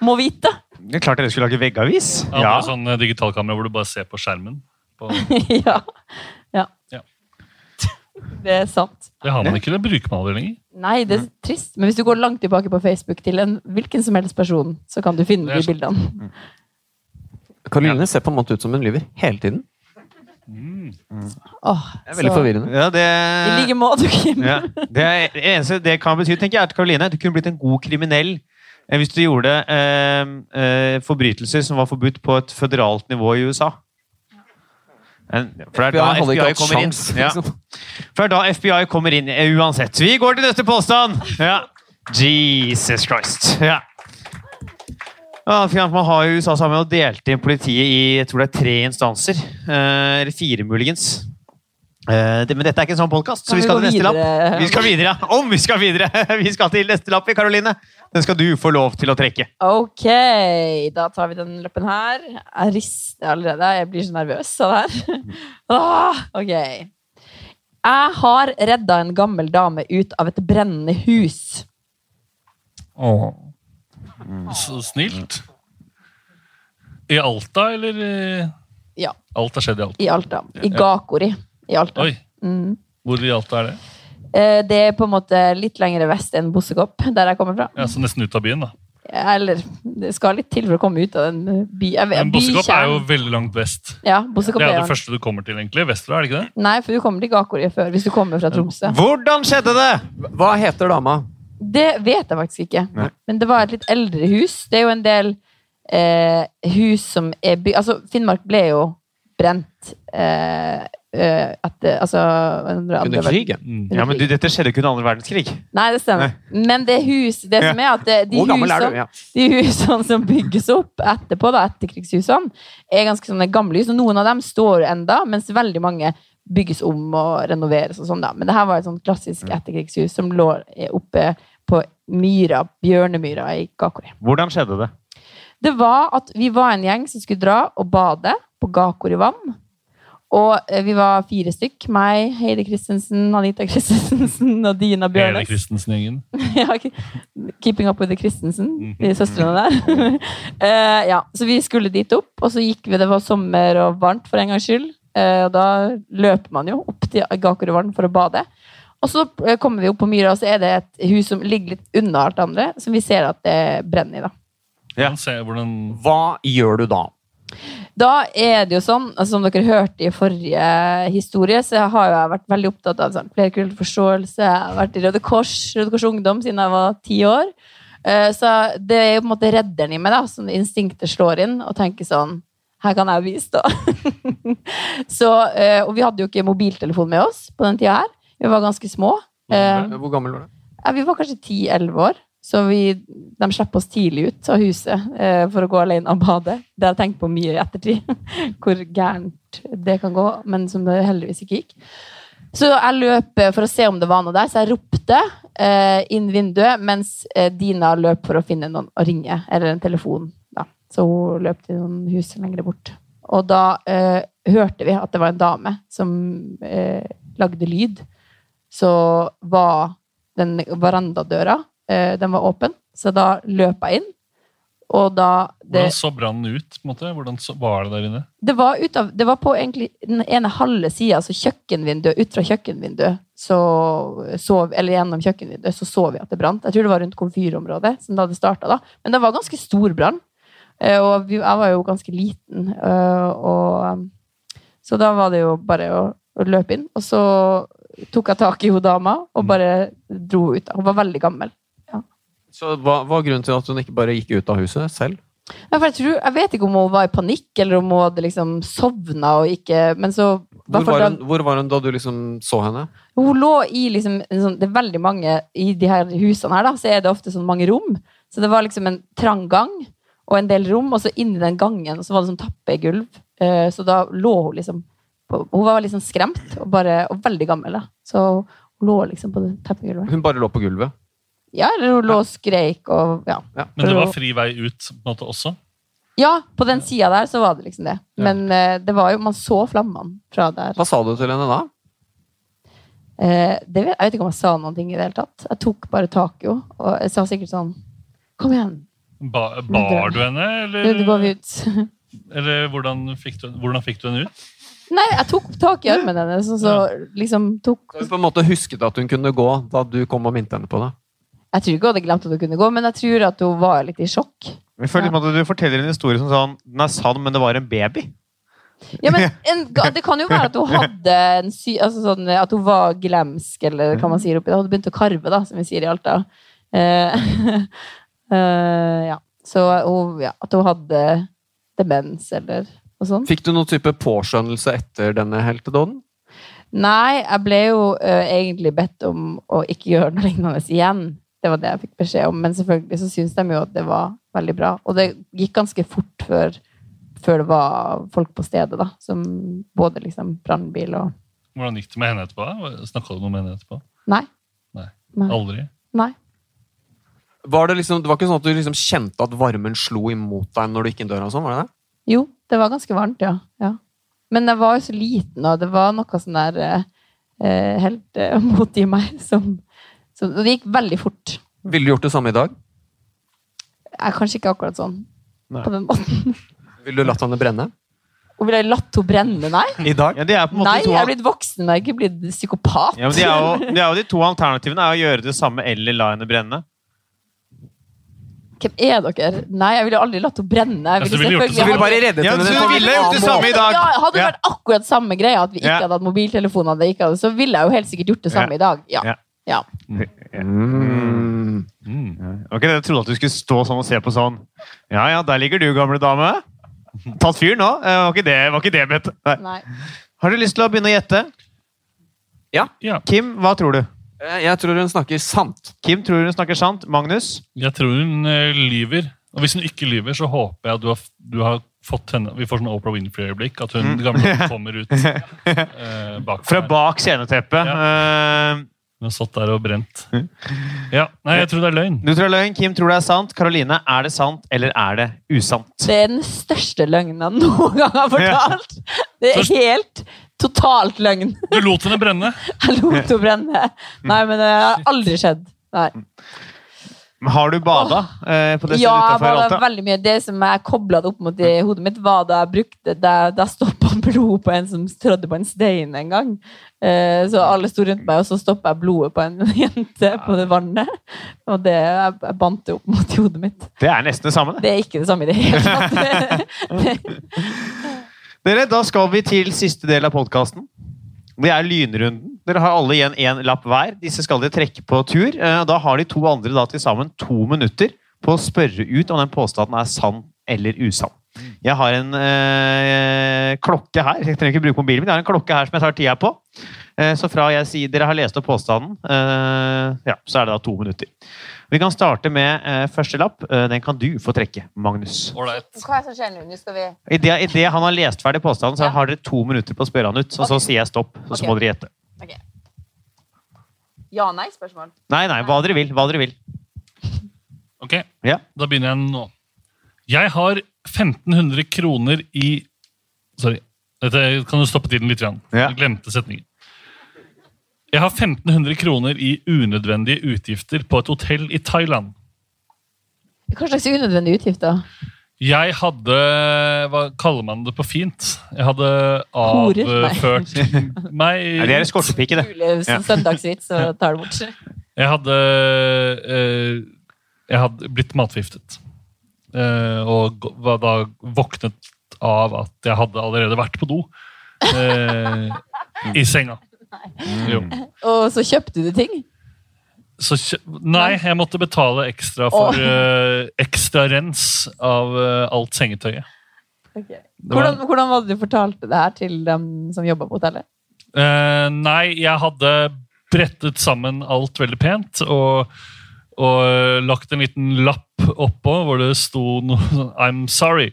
Må vite!
det er klart dere skulle lage veggavis.
Jeg
Ja.
hadde sånn eh, digitalkamera hvor du bare ser på skjermen. På,
ja. ja.
Ja.
Det er sant.
det har man ikke, det bruker man aldri lenger.
Nei, det er trist, men hvis du går langt tilbake på Facebook til en hvilken som helst person, så kan du finne
Det er
de bildene.
Karoline ser på en måte ut som hun lyver hele tiden.
Åh,
Det er veldig
så-
forvirrende.
Ja, det,
I like måte, Kim.
ja. det er- det eneste det kan bety, tenker jeg, er at Karoline, du kunne blitt en god kriminell eh, hvis du gjorde eh, eh, forbrytelser som var forbudt på et føderalt nivå i USA. En, for det er da
Jeg hadde ikke
FBI
hatt
kommer inn.
sjans.
Ja.
Liksom.
For det er da FBI kommer inn eh, uansett. Vi går til neste påstand! Ja. Jesus Christ. Ja. Ja, for eksempel, man har jo i USA sammen og delt inn politiet i jeg tror det er tre instanser. eh, Eller fire, muligens. Eh, det- Men dette er ikke en sånn podkast, så
Kan
vi
vi
skal
gå
til neste
videre?
lapp. Vi skal videre, ja. Om vi skal videre! Vi skal til neste lapp, Karoline. Den skal du få lov til å trekke.
Ok, da tar vi den løppen her. Jeg rister allerede. Jeg blir så nervøs av det her. Ah, ok. Jeg har redda en gammel dame ut av et brennende hus.
Så snilt. I Alta, eller eh,
Ja,
Alt har skjedd i Alta.
i Alta. I Gakori i Alta.
Oi,
Mm.
hvor i Alta er det?
Eh, Det er på en måte litt lengre vest enn Bossekopp, der jeg kommer fra.
Ja, så Nesten ut av byen, da.
Eller det skal litt til for å komme ut av den eh, by... jeg vet-
Men Bossekopp er jo
bykjernen.
veldig langt vest.
Ja,
Det
Bossekopp
er
er
jo det
jo
første du kommer til, egentlig. Vestra, er det ikke det?
Nei, for du kommer til Gakori før, hvis du kommer fra Tromsø.
Hvordan skjedde det?
Hva heter dama?
Det vet jeg faktisk ikke.
Nei.
Men det var et litt eldre hus. Det er jo en del eh, hus som er bygd Altså, Finnmark ble jo brent eh, eh, etter Altså under andre
Under
verden-
krigen?
Mm.
Ja, men du, Dette skjedde jo ikke under andre verdenskrig.
Nei, det stemmer. Men det hus Det som er at det, de,
Hvor gammel er
husene,
du? Ja.
de husene som bygges opp etterpå, da, etterkrigshusene, er ganske sånne gamle hus. Og noen av dem står enda, mens veldig mange bygges om og renoveres og sånn, da. Men det her var et sånt klassisk
Mm.
etterkrigshus som lå eh, oppe på Myra, Bjørnemyra i Gakori.
Hvordan skjedde det?
Det var at vi var en gjeng som skulle dra og bade på Gakor i vann. Og eh, vi var fire stykk. Meg, Heidi Christensen, Anita Christensen og Dina
Hele
Bjørnes.
Christensen-gjengen.
Ja, ok. Keeping up with the Christensen, de søstrene der. Eh, ja, så vi skulle dit opp, og så gikk vi, det var sommer og varmt for en gangs skyld. Eh, og da løper man jo opp til Gakerudvann for å bade. Og så eh, kommer vi opp på myra, og så er det et hus som ligger litt unna alt det andre, som vi ser at det brenner i. da.
Ja. Se hvordan
Hva gjør du da?
Da er det jo sånn, altså som dere hørte i forrige historie, så har jo jeg vært veldig opptatt av sånn, flerkulturell forståelse. Jeg har vært i Røde Kors, Røde Kors Ungdom siden jeg var ti år. Eh, Så det er jo på en måte redderen i meg, da, som instinktet slår inn og tenker sånn her kan jeg bistå. så, eh, og vi hadde jo ikke mobiltelefon med oss på den tida her. Vi var ganske små. Eh,
Hvor gammel var du?
ja, vi var kanskje 10-11 år, så vi, de slipper oss tidlig ut av huset eh, for å gå alene og bade. Det har jeg tenkt på mye i ettertid, hvor gærent det kan gå, men som det heldigvis ikke gikk. Så jeg løp eh, for å se om det var noe der, så jeg ropte eh, inn vinduet, mens eh, Dina løp for å finne noen å ringe, eller en telefon. Da. Så hun løp til noen hus lenger bort. Og da eh, hørte vi at det var en dame som eh, lagde lyd. Så var den verandadøra eh, den var åpen, så da løp jeg inn. Og da det,
Hvordan så brannen ut? på en måte? Hvordan så, var det der inne?
det, var ut av, det var på egentlig den ene halve sida, altså kjøkkenvinduet, ut fra kjøkkenvinduet, så så vi- eller gjennom kjøkkenvinduet, så så vi at det brant. Jeg tror det var rundt komfyrområdet som det hadde starta da. Men det var ganske stor brann. Eh, Og vi, jeg var jo ganske liten. eh, Og, um, så da var det jo bare å, å løpe inn. Og så tok jeg tak i hun dama og bare dro ut. Hun var veldig gammel.
Så hva hva var grunnen til at hun ikke bare gikk ut av huset selv?
Ja, for jeg, tror, jeg vet ikke om hun var i panikk, eller om hun hadde liksom sovna og ikke Men så i
Hvor
hvert fall
var,
da-
hun, hvor var hun da du liksom så henne?
Hun lå i liksom en sånn, Det er veldig mange i de her husene her, da, så er det ofte sånn mange rom. Så det var liksom en trang gang og en del rom, og så inni den gangen så var det sånn tappegulv. Eh, Så da lå hun liksom på, Hun var liksom skremt og, bare, og veldig gammel, da. Så hun lå liksom på det tappegulvet.
Hun bare lå på gulvet.
Ja, eller hun lå og skreik og Ja.
Men det var fri vei ut på en måte også.
ja på den sida der så var det liksom det. Men eh, det var jo Man så flammene fra der.
Hva sa du til henne da?
Eh, det vet, jeg vet ikke om jeg sa noen ting i det hele tatt. Jeg tok bare tak i henne, og jeg sa sikkert sånn Kom igjen,
Ba, bar du henne,
nå går vi
eller,
ut.
eller hvordan, fikk du, hvordan fikk du henne ut?
Nei, jeg tok tak i armen hennes, og så liksom tok
Hun på en måte husket at hun kunne gå da du kom og minte henne på det.
Jeg tror ikke hun hadde glemt at hun kunne gå, men jeg tror at hun var litt i sjokk.
Jeg føler liksom at Du forteller en historie som sånn, den er sann, men det var en baby.
Ja, men en, ga- Det kan jo være at hun hadde en sy... Altså sånn, eh, at hun var glemsk, eller hva man sier oppi der. Hun begynte å karve, da, som vi sier i Alta. Eh, eh, ja. Så hun, ja, at hun hadde demens, eller noe sånt.
Fikk du noen type påskjønnelse etter denne heltedåden?
Nei, jeg ble jo ø, egentlig bedt om å ikke gjøre noe lignende igjen. Det var det jeg fikk beskjed om, men selvfølgelig så syntes de jo at det var veldig bra. Og det gikk ganske fort før, før det var folk på stedet, da. Som både liksom brannbil og
Hvordan gikk det med henne etterpå? Snakka du noe med henne etterpå?
Nei.
Nei.
Nei.
Aldri?
Nei.
Var det, liksom, det var ikke sånn at du liksom kjente at varmen slo imot deg når du gikk inn døra? og sånn, var det det?
Jo, det var ganske varmt, ja. ja. Men jeg var jo så liten, og det var noe sånn der eh, eh, helt eh, mot i meg som, som Og det gikk veldig fort.
Ville du gjort det samme i dag?
Jeg er kanskje ikke akkurat sånn
Nei.
på den måten.
Ville du latt henne brenne?
Og ville jeg latt henne brenne? Nei.
I dag?
Ja, det er på en måte
Nei,
de to
jeg er blitt voksen, men jeg er ikke blitt psykopat.
ja, men det, er jo, det er jo de to alternativene. er å Gjøre det samme eller la henne brenne.
Hvem er dere? Nei, jeg ville aldri latt henne brenne.
Ja, så du ville gjort det
Du
selvfølgelig-
ville bare reddet
Ja,
henne.
så
på en
ville jeg gjort det
annen
samme i dag.
Ja, hadde det
Ja.
vært akkurat samme greia, at vi
Ja.
ikke hadde hatt mobiltelefoner, det ikke hadde, så ville jeg jo helt sikkert gjort det samme
Ja.
i dag. Ja.
Ja.
Ja.
måte. Mm.
Mm.
Ok, Jeg trodde at du skulle stå sånn og se på sånn. Ja, ja, der ligger du, gamle dame. Tatt fyr nå? Eh, Var ikke det, var ikke det ment? Nei.
Nei.
Har du lyst til å begynne å gjette?
Ja.
Kim, hva tror du?
Eh, Jeg tror hun snakker sant.
Kim tror hun snakker sant. Magnus?
Jeg tror hun eh, lyver. Og hvis hun ikke lyver, så håper jeg at du har, du har fått henne Vi får sånn Oprah Winfrey-øyeblikk. At hun gamle kommer ut eh, bak
Mm. Fra bak sceneteppet. Eh,
Hun har satt der og brent.
Mm.
Ja, Nei, jeg tror det er løgn.
du tror det er løgn, Kim tror det er sant. Karoline, er det sant eller er det usant?
Det er den største løgnen jeg noen gang har fortalt. Det er helt totalt løgn.
Du lot henne brenne.
Jeg lot henne brenne. Nei, men det har aldri skjedd. Nei.
Har du bada eh, på det stedet
Ja, jeg
utenfor
var da
Alta?
veldig mye. Det som jeg kobla det opp mot i hodet mitt, var da jeg brukte Da, da stoppa blodet på en som trådde på en stein en gang. Eh, så alle sto rundt meg, og så stoppa jeg blodet på en jente på det vannet. Og det jeg, jeg bandt det opp mot i hodet mitt.
Det er nesten det samme, det.
Det er ikke det samme i det hele tatt.
Dere, da skal vi til siste del av podkasten. Det er lynrunden. Dere har alle igjen én lapp hver. Disse skal dere trekke på tur. Eh, Da har de to andre da til sammen to minutter på å spørre ut om den påstanden er sann eller usann. Jeg har en eh, klokke her. Jeg trenger ikke bruke mobilen min. Jeg har en klokke her som jeg tar tida på. Eh, så fra jeg sier dere har lest opp påstanden, eh, ja, så er det da to minutter. Vi kan starte med eh, første lapp. Eh, den kan du få trekke, Magnus.
Ålreit.
Hva er det som skjer nå? Nå skal vi
Idet det han har lest ferdig påstanden, så har dere to minutter på å spørre han ut. Og så
Ok.
sier jeg stopp, og så
Ok.
må dere gjette.
Ja-nei-spørsmål.
Nei, nei, hva dere vil. Hva dere vil.
Ok,
Ja.
da begynner jeg nå. Jeg har 1500 kroner i Sorry. Dette kan du stoppe tiden litt. Jan.
Ja.
Jeg glemte setningen. Jeg har 1500 kroner i unødvendige utgifter på et hotell i Thailand.
Hva slags unødvendige utgifter?
Jeg hadde Hva kaller man det på fint? Jeg hadde
Horer? Nei.
avført meg
Nei, det er en skortepike, det.
Mulig
Ja.
søndagsvits, så tar det bort.
Jeg hadde eh, Jeg hadde blitt matforgiftet. Eh, og gå- var da våknet av at jeg hadde allerede vært på do. eh, I senga. Jo.
Og så kjøpte du ting?
Så kjø- Nei, jeg måtte betale ekstra for
Åh.
eh, ekstra rens av eh, alt sengetøyet.
Ok.
Det var-
Hvordan, hvordan var det du fortalte det her til dem som jobba på hotellet?
Eh, nei, jeg hadde brettet sammen alt veldig pent og, og eh, lagt en liten lapp oppå hvor det sto noe sånn I'm sorry.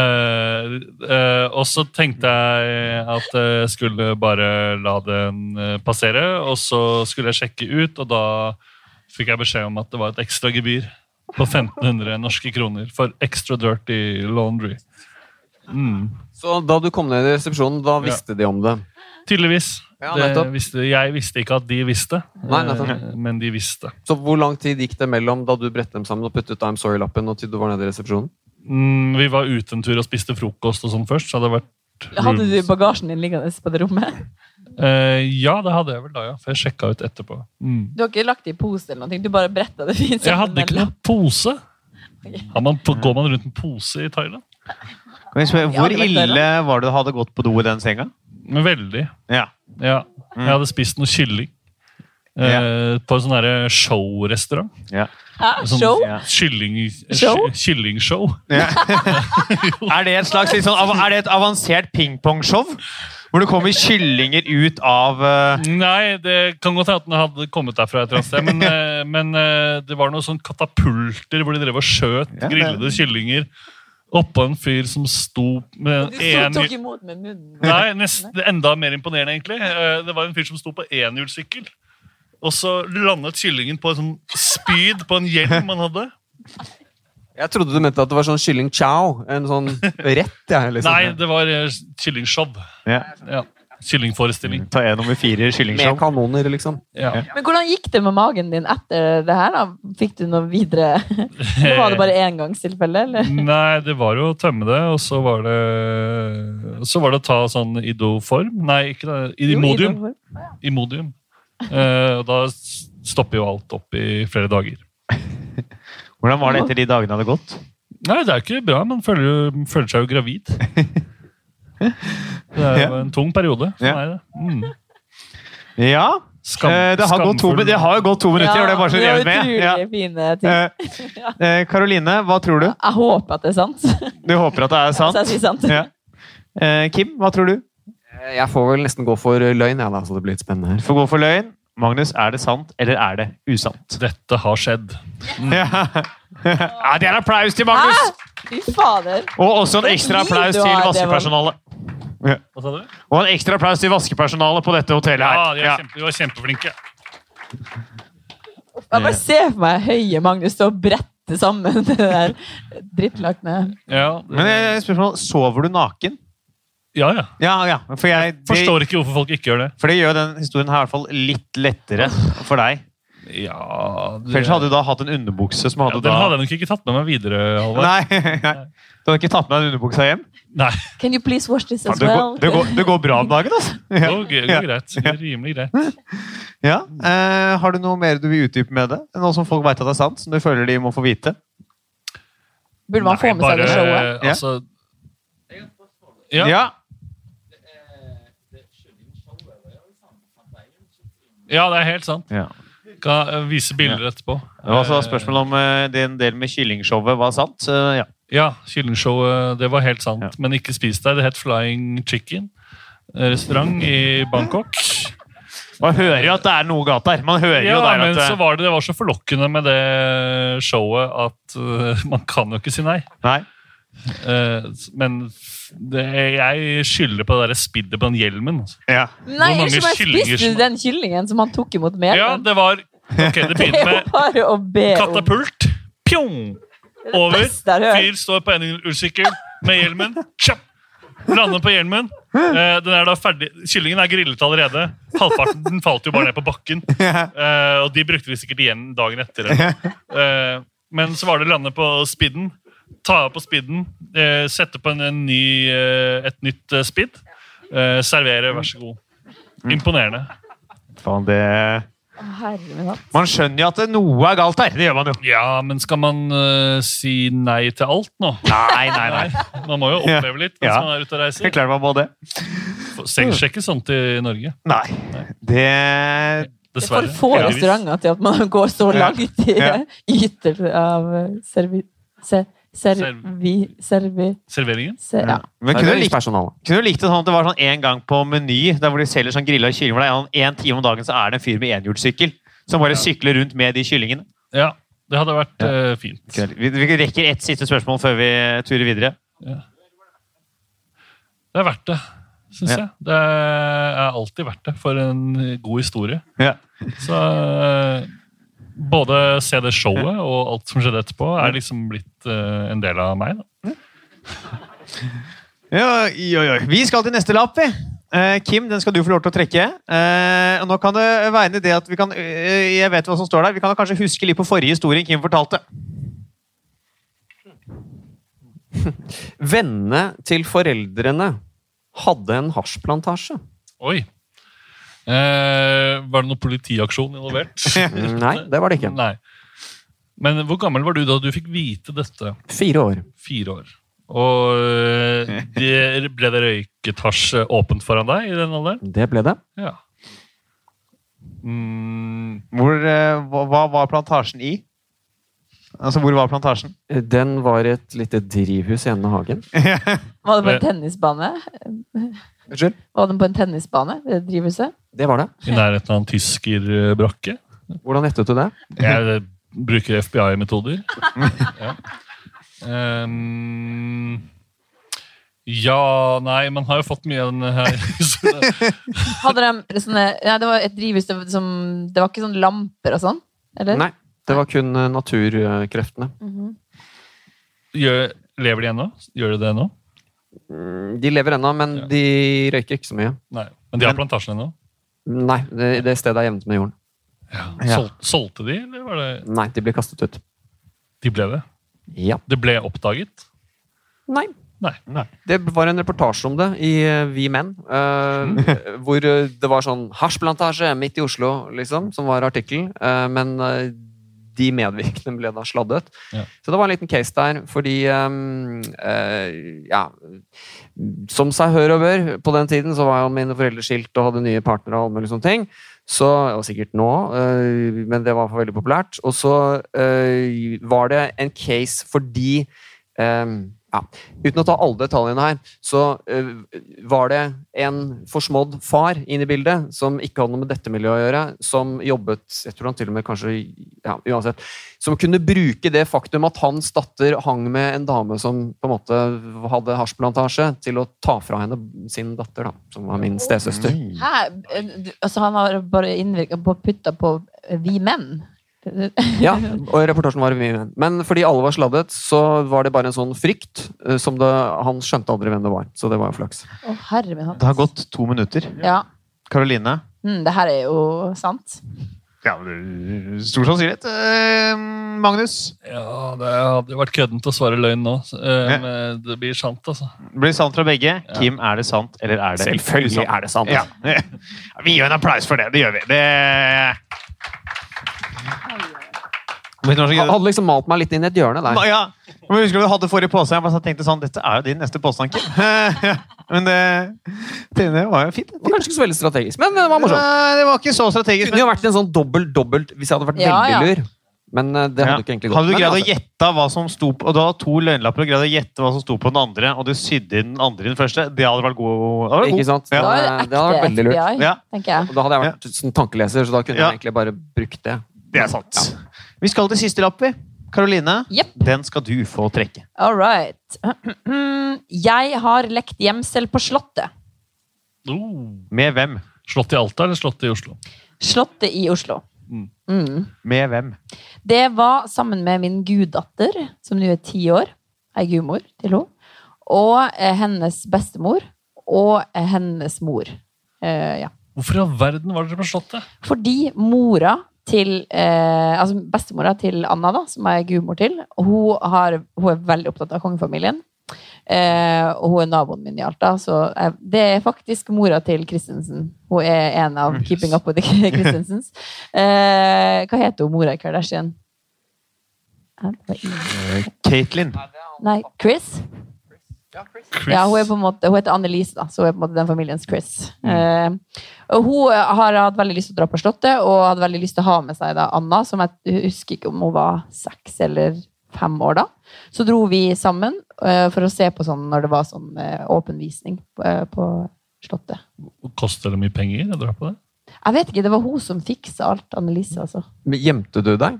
Eh, eh, og så tenkte jeg at jeg skulle bare la den eh, passere, og så skulle jeg sjekke ut, og da fikk jeg beskjed om at det var et ekstra gebyr på 1500 norske kroner for extra dirty laundry. Mm.
Så da du kom ned i resepsjonen, da visste de om det?
Tydeligvis.
Ja,
det
nettopp.
visste, jeg visste ikke at de visste,
Nei, nettopp.
eh, men de visste.
Så hvor lang tid gikk det mellom da du brettet dem sammen og puttet I'm sorry-lappen, og til du var nede i resepsjonen?
Mm, vi var ute en tur og spiste frokost og sånn først. Så hadde det vært
Hadde du
rooms.
bagasjen din liggende på det rommet?
Eh, ja, det hadde jeg vel da, ja. For jeg sjekka ut etterpå. Mm.
Du har ikke lagt det i pose eller noe? Du bare bretta det fint?
Jeg hadde ikke noen pose.
Ok.
Har man, går man rundt med pose i Thailand?
Kan jeg spørre,
Ja,
Hvor
det vet dere.
ille var det du hadde gått på do i den senga?
Men Veldig.
Ja.
Ja.
Mm.
Jeg hadde spist noe kylling. eh, På en sånn derre showrestaurant.
Hæ?
Sånn
Show?
Ja.
Kylling,
Show?
kyllingshow.
Er det et slags litt sånn, av- er det et avansert pingpongshow? Hvor det kommer kyllinger ut av eh,
Nei, det kan godt hende at den hadde kommet derfra et eller annet sted. Men, eh, men eh, det var noen sånne katapulter hvor de drev og skjøt
Ja, det-
grillede kyllinger oppå en fyr som sto med
Du
en
tok
enhjul-
imot med munnen?
Nei, nesten enda mer imponerende, egentlig. Eh, Det var en fyr som sto på enhjulssykkel. Og så landet kyllingen på en sånn spyd på en hjelm han hadde.
Jeg trodde du mente at det var sånn kylling chow. En sånn rett, jeg. Liksom.
Nei, det var eh, kyllingshow.
ja.
Ja. Kyllingforestilling.
Ta en nummer fire
Med
kyllingshow.
kanoner, liksom.
Ja.
Men hvordan gikk det med magen din etter det her? da? Fikk du noe videre? Eller var det bare engangstilfelle? eller?
Nei, det var jo å tømme det, og så var det Så var det å ta sånn idoform. Nei, ikke det.
Jo,
Imodium.
innenfor.
Imodium. Eh, og da s- stopper jo alt opp i flere dager.
Hvordan var det etter de dagene hadde gått?
Nei, det er ikke bra. Man føler, jo- føler seg jo gravid. Det er jo
Ja.
en tung periode for
Ja.
meg, det. Mm.
Ja,
Skam-
eh, det, har gått to,
skamfull-
min- det har jo gått to minutter, og det er bare så
det var
revet med. Ja.
utrolig fine ting.
Eh, eh, Karoline, hva tror du?
Jeg håper at det er sant.
Du håper at det er
Så jeg
sant?
sier sant.
Ja. Eh, Kim, hva tror du?
Eh, Jeg får vel nesten gå for løgn, jeg, da, så det blir litt spennende her.
Du får gå for løgn. Magnus, er det sant, eller er det usant?
Dette har skjedd.
Ja. Mm. ja, det er applaus til
Hæ?
Magnus!
Fy fader!
Og også en
Det er
ekstra
liv
applaus
du
til
har, det var-
vaskepersonalet.
Hva sa du?
Og en ekstra applaus til vaskepersonalet på dette hotellet
Ja,
her.
de, er
Ja.
Kjempe, de var kjempeflinke.
Jeg bare ser for meg høye Magnus stå og brette sammen det der drittlagte
Ja,
Men eh, spørsmål, sover du naken?
ja, ja.
Ja, ja. For jeg det,
Forstår ikke hvorfor folk ikke gjør det.
For det gjør den historien her i hvert fall litt lettere for deg.
Ja, det-
For ellers hadde du da hatt en underbukse som
ja,
hadde
Den
da
hadde jeg nok ikke tatt med meg videre, Halvard.
Nei, nei. Du hadde ikke tatt med deg den underbuksa hjem?
Nei.
Can you please wash this as
Det går,
well?
det, går, det går bra om dagen, altså.
Det
Ja.
går, det
Ja.
går greit. Det går rimelig greit.
Ja. Eh, har du noe mer du vil utdype med det? Noe som folk veit at er sant, som du føler de må få vite?
Burde man få
Nei,
med seg det
bare,
showet?
eh, Altså, ja. Ja. det er helt sant.
Ja.
Kan eh, vise bilder etterpå.
Det var altså spørsmål om eh, den delen med kyllingshowet var sant. Eh, ja.
Ja, Kyllingshowet, det var helt sant.
Ja.
Men ikke spis der. Det het Flying Chicken eh, restaurant i Bangkok.
Man hører jo at det er noe galt der. Man hører
Ja,
jo der
men
at eh,
så var det, det var så forlokkende med det showet at eh, man kan jo ikke si nei.
Nei.
Eh, men f- det, jeg skylder på det der spiddet på den hjelmen. altså.
Ja.
Nei,
mange
unnskyld meg,
kyllinger
spiste
som-
du den kyllingen som han tok imot med?
Ja, det var Ok, det
det
begynner
er jo
med
bare å be om.
katapult. Pjong!
Det er det
Over.
beste jeg har hørt.
Fyr står på en ullsykkel med hjelmen. Tjapp! Lander på hjelmen. Eh, den er da ferdig. Kyllingen er grillet allerede. Halvparten den falt jo bare ned på bakken. Eh, og de brukte vi sikkert igjen dagen etter. Eh, men så var det å lande på spidden. Ta av på spidden. Eh, sette på en, en ny, eh, et nytt eh, spidd. Eh, servere, vær så god. Imponerende.
Faen, det
Å, Herre min hatt.
Man skjønner jo at det- noe er galt der. Det gjør man jo.
Ja, men skal man eh, si nei til alt nå?
Nei, nei, nei.
Man må jo oppleve litt mens
Ja.
man er ute og
Skal
reiser.
klare meg på det.
Selv sjekker sånt i Norge.
Nei. Det
Det er
Dessverre.
for få
Heldigvis.
restauranter til at man går så
Ja.
langt i
Ja.
ytelse av eh, servi... Se, servi... Servi...
Serveringen.
Se, ja.
Men kunne
Nei, det er
du
litt
likt,
personal.
kunne du likt det sånn at det var sånn en gang på Meny, der hvor de selger sånn grilla kylling hvor det er sånn en time om dagen så er det en fyr med enhjulssykkel som bare sykler rundt med de kyllingene?
Ja, det hadde vært eh, fint.
Vi, vi rekker ett siste spørsmål før vi turer videre.
Det er verdt det, syns
Ja.
jeg. Det er alltid verdt det for en god historie.
Ja.
Så eh, både se det showet og alt som skjedde etterpå, er liksom blitt eh, en del av meg. Da.
Ja, oi, oi, oi. Vi skal til neste lapp, vi. Eh, Kim, den skal du få lov til å trekke. Eh, og nå kan det være det at vi kan eh, Jeg vet hva som står der. Vi kan kanskje huske litt på forrige historie Kim fortalte.
Vennene til foreldrene hadde en hasjplantasje.
Oi! Eh, var det noen politiaksjon involvert?
Nei, det var det ikke.
Mm, Nei. Men hvor gammel var du da du fikk vite dette?
Fire år.
Fire år. Og eh, det, ble det røyketasje åpent foran deg i den alderen?
Det ble det.
Ja. Mm,
Hvor, eh, hva, hva var plantasjen i? Altså, hvor var plantasjen?
Den var et lite drivhus i enden av hagen.
Var det på
Eh.
en tennisbane?
Unnskyld?
Var den på en tennisbane? Det drivhuset?
Det var det.
I nærheten av en tyskerbrakke.
Hvordan gjettet du det?
Jeg eh, bruker FBI-metoder. Ja. Ehm, ja Nei, man har jo fått mye av den her. så det-
Hadde de sånne Nei, det var et drivhus det var som Det var ikke sånn lamper og sånn? Eller?
Nei. Det var kun eh, naturkreftene.
Mhm.
Gjør, lever de ennå? Gjør de det ennå?
Mm, De lever ennå, men
Ja.
de røyker ikke så mye.
Nei. Men de har plantasjen ennå?
Nei, det, det stedet er jevnt med jorden.
Ja.
Sol, solgte de, eller var det
Nei, de blir kastet ut.
De ble det?
Ja.
Det ble oppdaget?
Nei.
Nei.
Det var en reportasje om det i eh, Vi menn. eh, hvor eh, det var sånn hasjplantasje midt i Oslo, liksom, som var artikkelen. eh, men eh, de medvirkende ble da sladdet.
Ja.
Så det var en liten case der, fordi eh, eh, Ja. Som seg hør og bør, på den tiden så var jo mine foreldre skilt og hadde nye partnere. og alle mulige sånne ting. Så, og sikkert nå, eh, men det var veldig populært. Og så eh, var det en case fordi eh, ja, Uten å ta alle detaljene her, så eh, var det en forsmådd far inn i bildet, som ikke hadde noe med dette miljøet å gjøre, som jobbet jeg tror han til og med kanskje, ja, uansett, Som kunne bruke det faktum at hans datter hang med en dame som på en måte hadde hasjplantasje, til å ta fra henne sin datter, da, som var min stesøster.
Hæ? Du- Altså, han var bare innvirka på putta på eh, vi menn?
Ja, og i reportasjen var det mye menn. Men fordi alle var sladdet, så var det bare en sånn frykt eh, som det, han skjønte aldri hvem det var. Så det var jo flaks.
Å, herre min hatt.
Det har gått to minutter.
Ja.
Karoline?
Mm, det her er jo sant.
Ja, det- stor sannsynlighet. Eh, Magnus?
Ja, det hadde jo vært køddent å svare løgn nå, så, eh,
Ja.
men det blir sant, altså.
Det blir sant fra begge. Kim, er det sant, eller er det usant?
er det sant.
Ja. Vi gir en applaus for det. Det gjør vi. Det... Vet du hva som
Han
gøy?
hadde liksom malt meg litt inn i et hjørne der.
Ja. Men husker du du hadde forrige påstand? Jeg bare tenkte sånn, Dette er jo din neste påstand, Kim. Men det, det var jo fint.
Det var kanskje ikke så veldig strategisk, men det var morsomt.
Nei, det var ikke så
Det
strategisk.
kunne jo vært en sånn dobbelt-dobbelt hvis jeg hadde vært
Ja, ja.
veldig lur. Men eh, det hadde
Ja.
ikke egentlig gått.
Hadde du
Men,
greid å
altså,
gjette hva som sto på, og da to løgnlapper og greid å gjette hva som sto på den andre, og du sydde inn den andre i den første, det hadde vært god. det hadde vært god.
Ikke sant?
Ja.
Da er
Det, det hadde vært
ekte
veldig lurt.
FBI,
Ja.
tenker jeg.
Og da hadde jeg vært sånn tankeleser, så da kunne
Ja.
jeg egentlig bare brukt det.
Det er sant. Vi skal til siste lapp, vi. Karoline,
Jepp.
den skal du få trekke.
All right. Jeg har lekt gjemsel på Slottet.
Oh.
Med hvem?
Slått i Alta eller slått i Oslo?
Slottet i Oslo.
Mm.
Mm.
Med hvem?
Det var sammen med min guddatter, som nå er ti år. Ei gudmor til henne. Og eh, hennes bestemor. Og eh, hennes mor. Eh, ja.
Hvorfor i all verden var dere på Slottet?
Fordi mora til eh, altså bestemora til Anna, da, som jeg er gudmor til, hun, har, hun er veldig opptatt av kongefamilien. Eh, og hun er naboen min i Alta, så eh, det er faktisk mora til Christensen. Hun er en av Keeping Up With The Christensens. Eh, hva heter hun mora i Kardashian? Hæ? Det var ingen-
Katelyn.
Nei, Chris?
Chris.
Ja, hun, er på en måte, hun heter Annelise, da, så hun er på en måte den familiens Chris. Eh, Og Hun eh, har hatt veldig lyst til å dra på Slottet, og hadde veldig lyst til å ha med seg da Anna, som jeg husker ikke om hun var seks eller fem år da. Så dro vi sammen eh, for å se på sånn når det var sånn eh, åpen visning på, eh, på Slottet.
Koster det mye penger å dra på det?
Jeg vet ikke, det var hun som fiksa alt, Annelise, altså.
Men Gjemte du deg?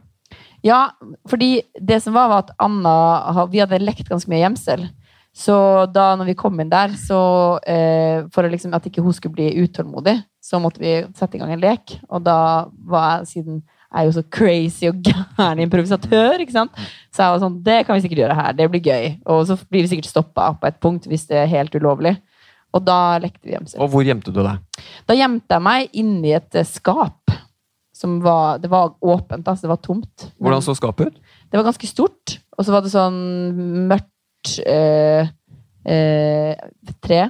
Ja, fordi det som var, var at Anna ha- Vi hadde lekt ganske mye gjemsel. Så da når vi kom inn der, så eh, for å liksom, at ikke hun skulle bli utålmodig, så måtte vi sette i gang en lek. Og da var jeg, siden jeg er jo så crazy og gæren improvisatør, ikke sant? så jeg var sånn Det kan vi sikkert gjøre her. Det blir gøy. Og så blir vi sikkert stoppa på et punkt hvis det er helt ulovlig. Og da lekte vi gjemsel.
Og hvor gjemte du deg?
Da gjemte jeg meg inni et eh, skap. Som var, det var åpent, altså. Det var tomt.
Hvordan så skapet ut?
Det var ganske stort, og så var det sånn mørkt eh, eh, tre.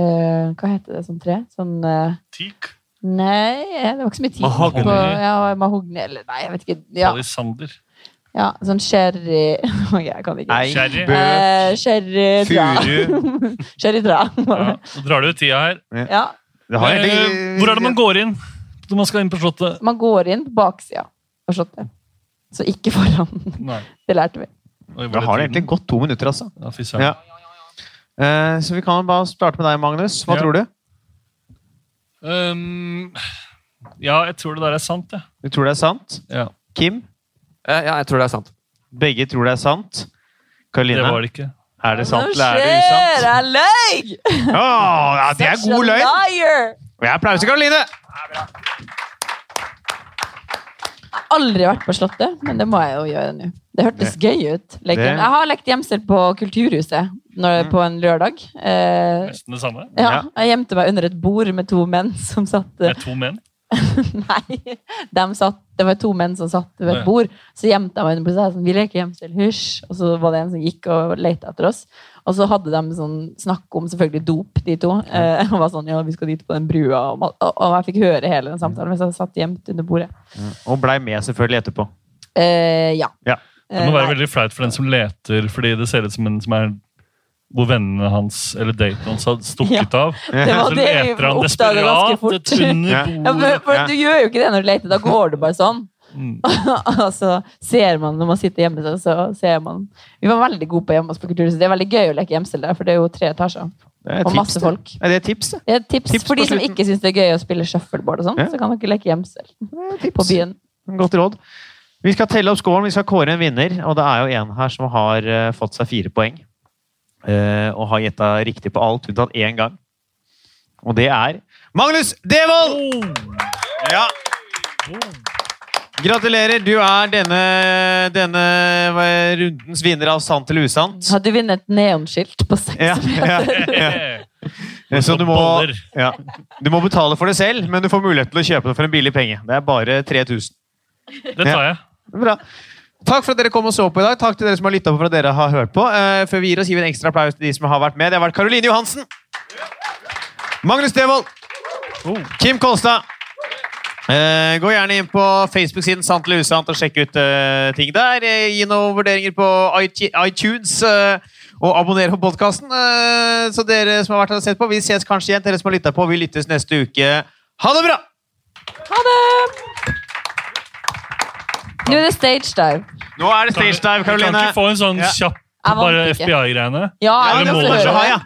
Eh, hva heter det som tre? Sånn eh,
Teak?
Nei, eh, det var ikke så mye tid
Mahogni.
på ja, Mahogni. Eller nei, jeg vet ikke. Ja,
Palisander?
ja sånn sherry Ok, Jeg kan det ikke.
Nei,
Sherry.
bø,
Eh, Sherrytra.
furu
Sherrytra.
Ja, så drar du ut tida her.
Ja.
det har egentlig-
Eh, Hvor er det man går inn når man skal inn på Slottet?
Man går inn på baksida av slottet. Så ikke foran.
Nei.
Det lærte vi.
Oi, var
Da har det egentlig
tiden?
gått to minutter, altså.
Ja, fy søren.
Ja. Eh, så vi kan bare starte med deg, Magnus. Hva
Ja.
tror du?
Ehm, ja, jeg tror det der er sant, jeg.
Du tror det er sant?
Ja.
Kim?
Eh, Ja, jeg tror det er sant.
Begge tror det er sant.
Det var
Karoline,
det ikke.
er det sant
Hva
eller er det
skjer?
usant?
Jeg løy!
Åh, ja, det er
Such a
god løgn!
liar!
Og jeg applauder til Karoline!
aldri vært på Slottet, men det må jeg jo gjøre nå. Det hørtes gøy ut. leken.
det-
Jeg har lekt gjemsel på Kulturhuset når, på en lørdag. Eh,
Nesten det samme.
Ja.
ja, jeg gjemte meg under et bord med to menn som satt eh,
Med to menn.
Nei, dem satt, det var to menn som satt ved
Å, ja.
et bord. Så gjemte jeg meg under bordet. så jeg Sånn, vi leker gjemsel, hysj. Og så var det en som gikk og lette etter oss. Og så hadde de sånn snakk om selvfølgelig dop, de to. Eh, og var sånn, ja, vi skal dit på den brua. Og, ma- og, og jeg fikk høre hele den samtalen mens jeg satt gjemt under bordet.
Og blei med selvfølgelig etterpå.
Eh, ja.
Ja.
Det må
Eh,
være veldig flaut for den som leter, fordi det ser ut som en som er hvor vennene hans eller daten hans har stukket av.
Det var
Så
det vi
leter han
oppdaget ganske
desperat
fort.
etter
Ja.
under
Ja, for,
bordet.
for
Ja.
Du gjør jo ikke det når du leter. Da går du bare sånn.
Mm.
Og så ser man når man sitter hjemme, så- så ser man Vi var veldig gode på hjemme hos på Kulturhuset. Det er veldig gøy å leke gjemsel der, for det er jo tre etasjer.
Det er et
Og masse
det.
folk.
Er det et tips, det?
Det er et tips,
Tips
for
på
de som
slutten.
ikke syns det er gøy å spille shuffleboard og sånn,
Ja.
så kan dere leke gjemsel
Det er et
på
tips.
byen.
Godt råd. Vi skal telle opp scoren, vi skal kåre en vinner. Og det er jo en her som har eh, fått seg fire poeng. eh, og har gjetta riktig på alt unntatt én gang. Og det er Magnus Devold! Ja. Gratulerer. Du er denne, denne hva- rundens vinner av Sant eller usant.
Hadde du vunnet neonskilt på seks
Ja, ja, ja. Så du må,
Boller.
ja, du må betale for det selv, men du får mulighet til å kjøpe det for en billig penge. Det er bare 3000.
Det tar jeg.
Bra. Takk for at dere kom og så på i dag. Takk til dere som har lytta på. for at dere har hørt på. Eh, før vi gir oss, gir vi en ekstra applaus til de som har vært med. Det har vært Karoline Johansen. Magnus Devold. Kim Kolstad. Eh, gå gjerne inn på Facebook-siden Sant eller usant og sjekk ut eh, ting der. Eh, gi noen vurderinger på iTu- iTunes. eh, og abonner på podkasten. Eh, så dere som har vært her og sett på, vi ses kanskje igjen. Dere som har lytta på, vi lyttes neste uke. Ha det bra!
Ha det! Nå er det stage dive.
Nå er det stage dive,
Vi kan
Karoline.
ikke få en sånn
Ja.
kjapp
Jeg vant
bare
ikke.
FBI-greiene?
Ja,
Ja,
jeg
det
må
må
vi
høre
dere
kanskje
ha,
det.
ja.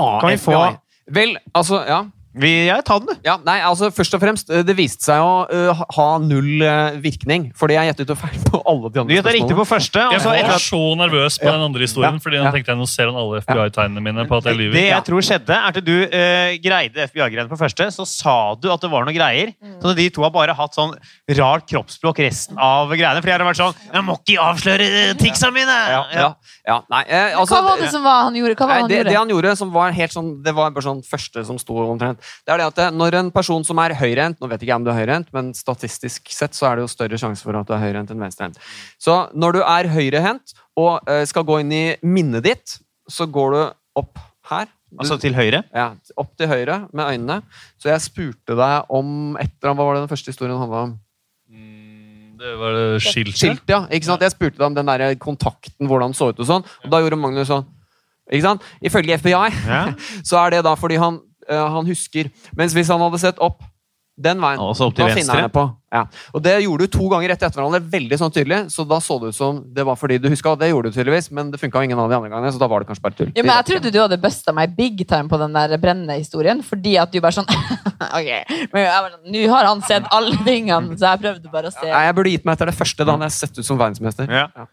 Ja,
Kan vi
FBI.
få-
Vel, altså, ja.
Vi, jeg tar den, du.
Ja, nei, altså Først og fremst, eh, det viste seg å eh, ha- ha null eh, virkning. Fordi jeg gjettet jo feil på alle de
Du
andre
gjetta riktig på første. Og
Jeg
så etter at
var så nervøs på den andre historien,
Ja.
fordi han
Ja.
tenkte jeg nå ser han alle FBI-tegnene mine på at jeg
det
lyver.
jeg tror skjedde, er at du eh, greide FBI-greiene på første, så sa du at det var noen greier. Så de to har bare hatt sånn rart kroppsspråk resten av greiene. For jeg har vært sånn Jeg må ikke avsløre eh, ticsa mine!
Ja, ja, ja, nei, eh, altså,
Hva var det som var han gjorde? Hva var
Nei,
det han
det, det
gjorde?
han gjorde, som var helt sånn, det var bare sånn første som sto omtrent, det er det at eh, når en person som er høyrehendt Nå vet ikke jeg om du er høyrehendt, men statistisk sett så er det jo større sjanse for at du er høyrehendt enn venstrehendt. Så når du er høyrehendt og eh, skal gå inn i minnet ditt, så går du opp her. Du,
Altså til høyre.
ja, opp til høyre med øynene. Så jeg spurte deg om etter Hva var det den første historien handla om?
Det var det skiltet.
Skilt, ja. Ikke sant? Jeg spurte deg om den der kontakten, hvordan den så ut og sånn. Og da gjorde Magnus sånn. Ikke sant? Ifølge FBI
Ja.
så er det da fordi han eh, han husker. Mens hvis han hadde sett opp den veien,
Og så opp til
da finner han
venstre.
det på. Ja. Og det gjorde du to ganger rett etter hverandre, veldig sånn tydelig, så da så det ut som det var fordi du huska, og det gjorde du tydeligvis, men det funka ingen av de andre gangene, så da var det kanskje bare tull.
Ja, men jeg trodde du hadde busta meg big time på den der brennende historien, fordi at du bare sånn Ok. Men jeg bare sånn, Nå har han sett alle tingene, så jeg prøvde bare å se.
Nei, jeg burde gitt meg etter det første, da hadde jeg sett ut som verdensmester.
Ja.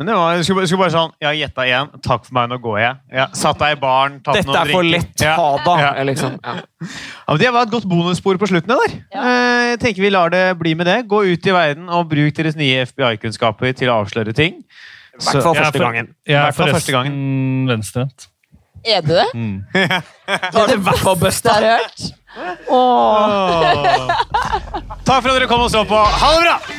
Men det var, jeg skulle, bare- jeg skulle bare sånn Jeg gjetta igjen. Takk for meg, nå går jeg. Ja, satt deg i baren, tatt
Dette
noen
er for
drikker.
lett,
Ja.
ha da!
Ja.
Liksom. Ja.
Ja, men det var et godt bonusspor på slutten. der.
Ja.
Eh, Jeg tenker Vi lar det bli med det. Gå ut i verden og bruk deres nye FBI-kunnskaper til å avsløre ting.
I hvert fall
Jeg er
første
for-
gangen.
Jeg
hvert
er
fall første gangen.
forresten venstrehendt.
Er du det?
Mm. Da er det i hvert fall best.
Det har jeg hørt.
Åh. Takk for at dere kom og så på. Ha det bra!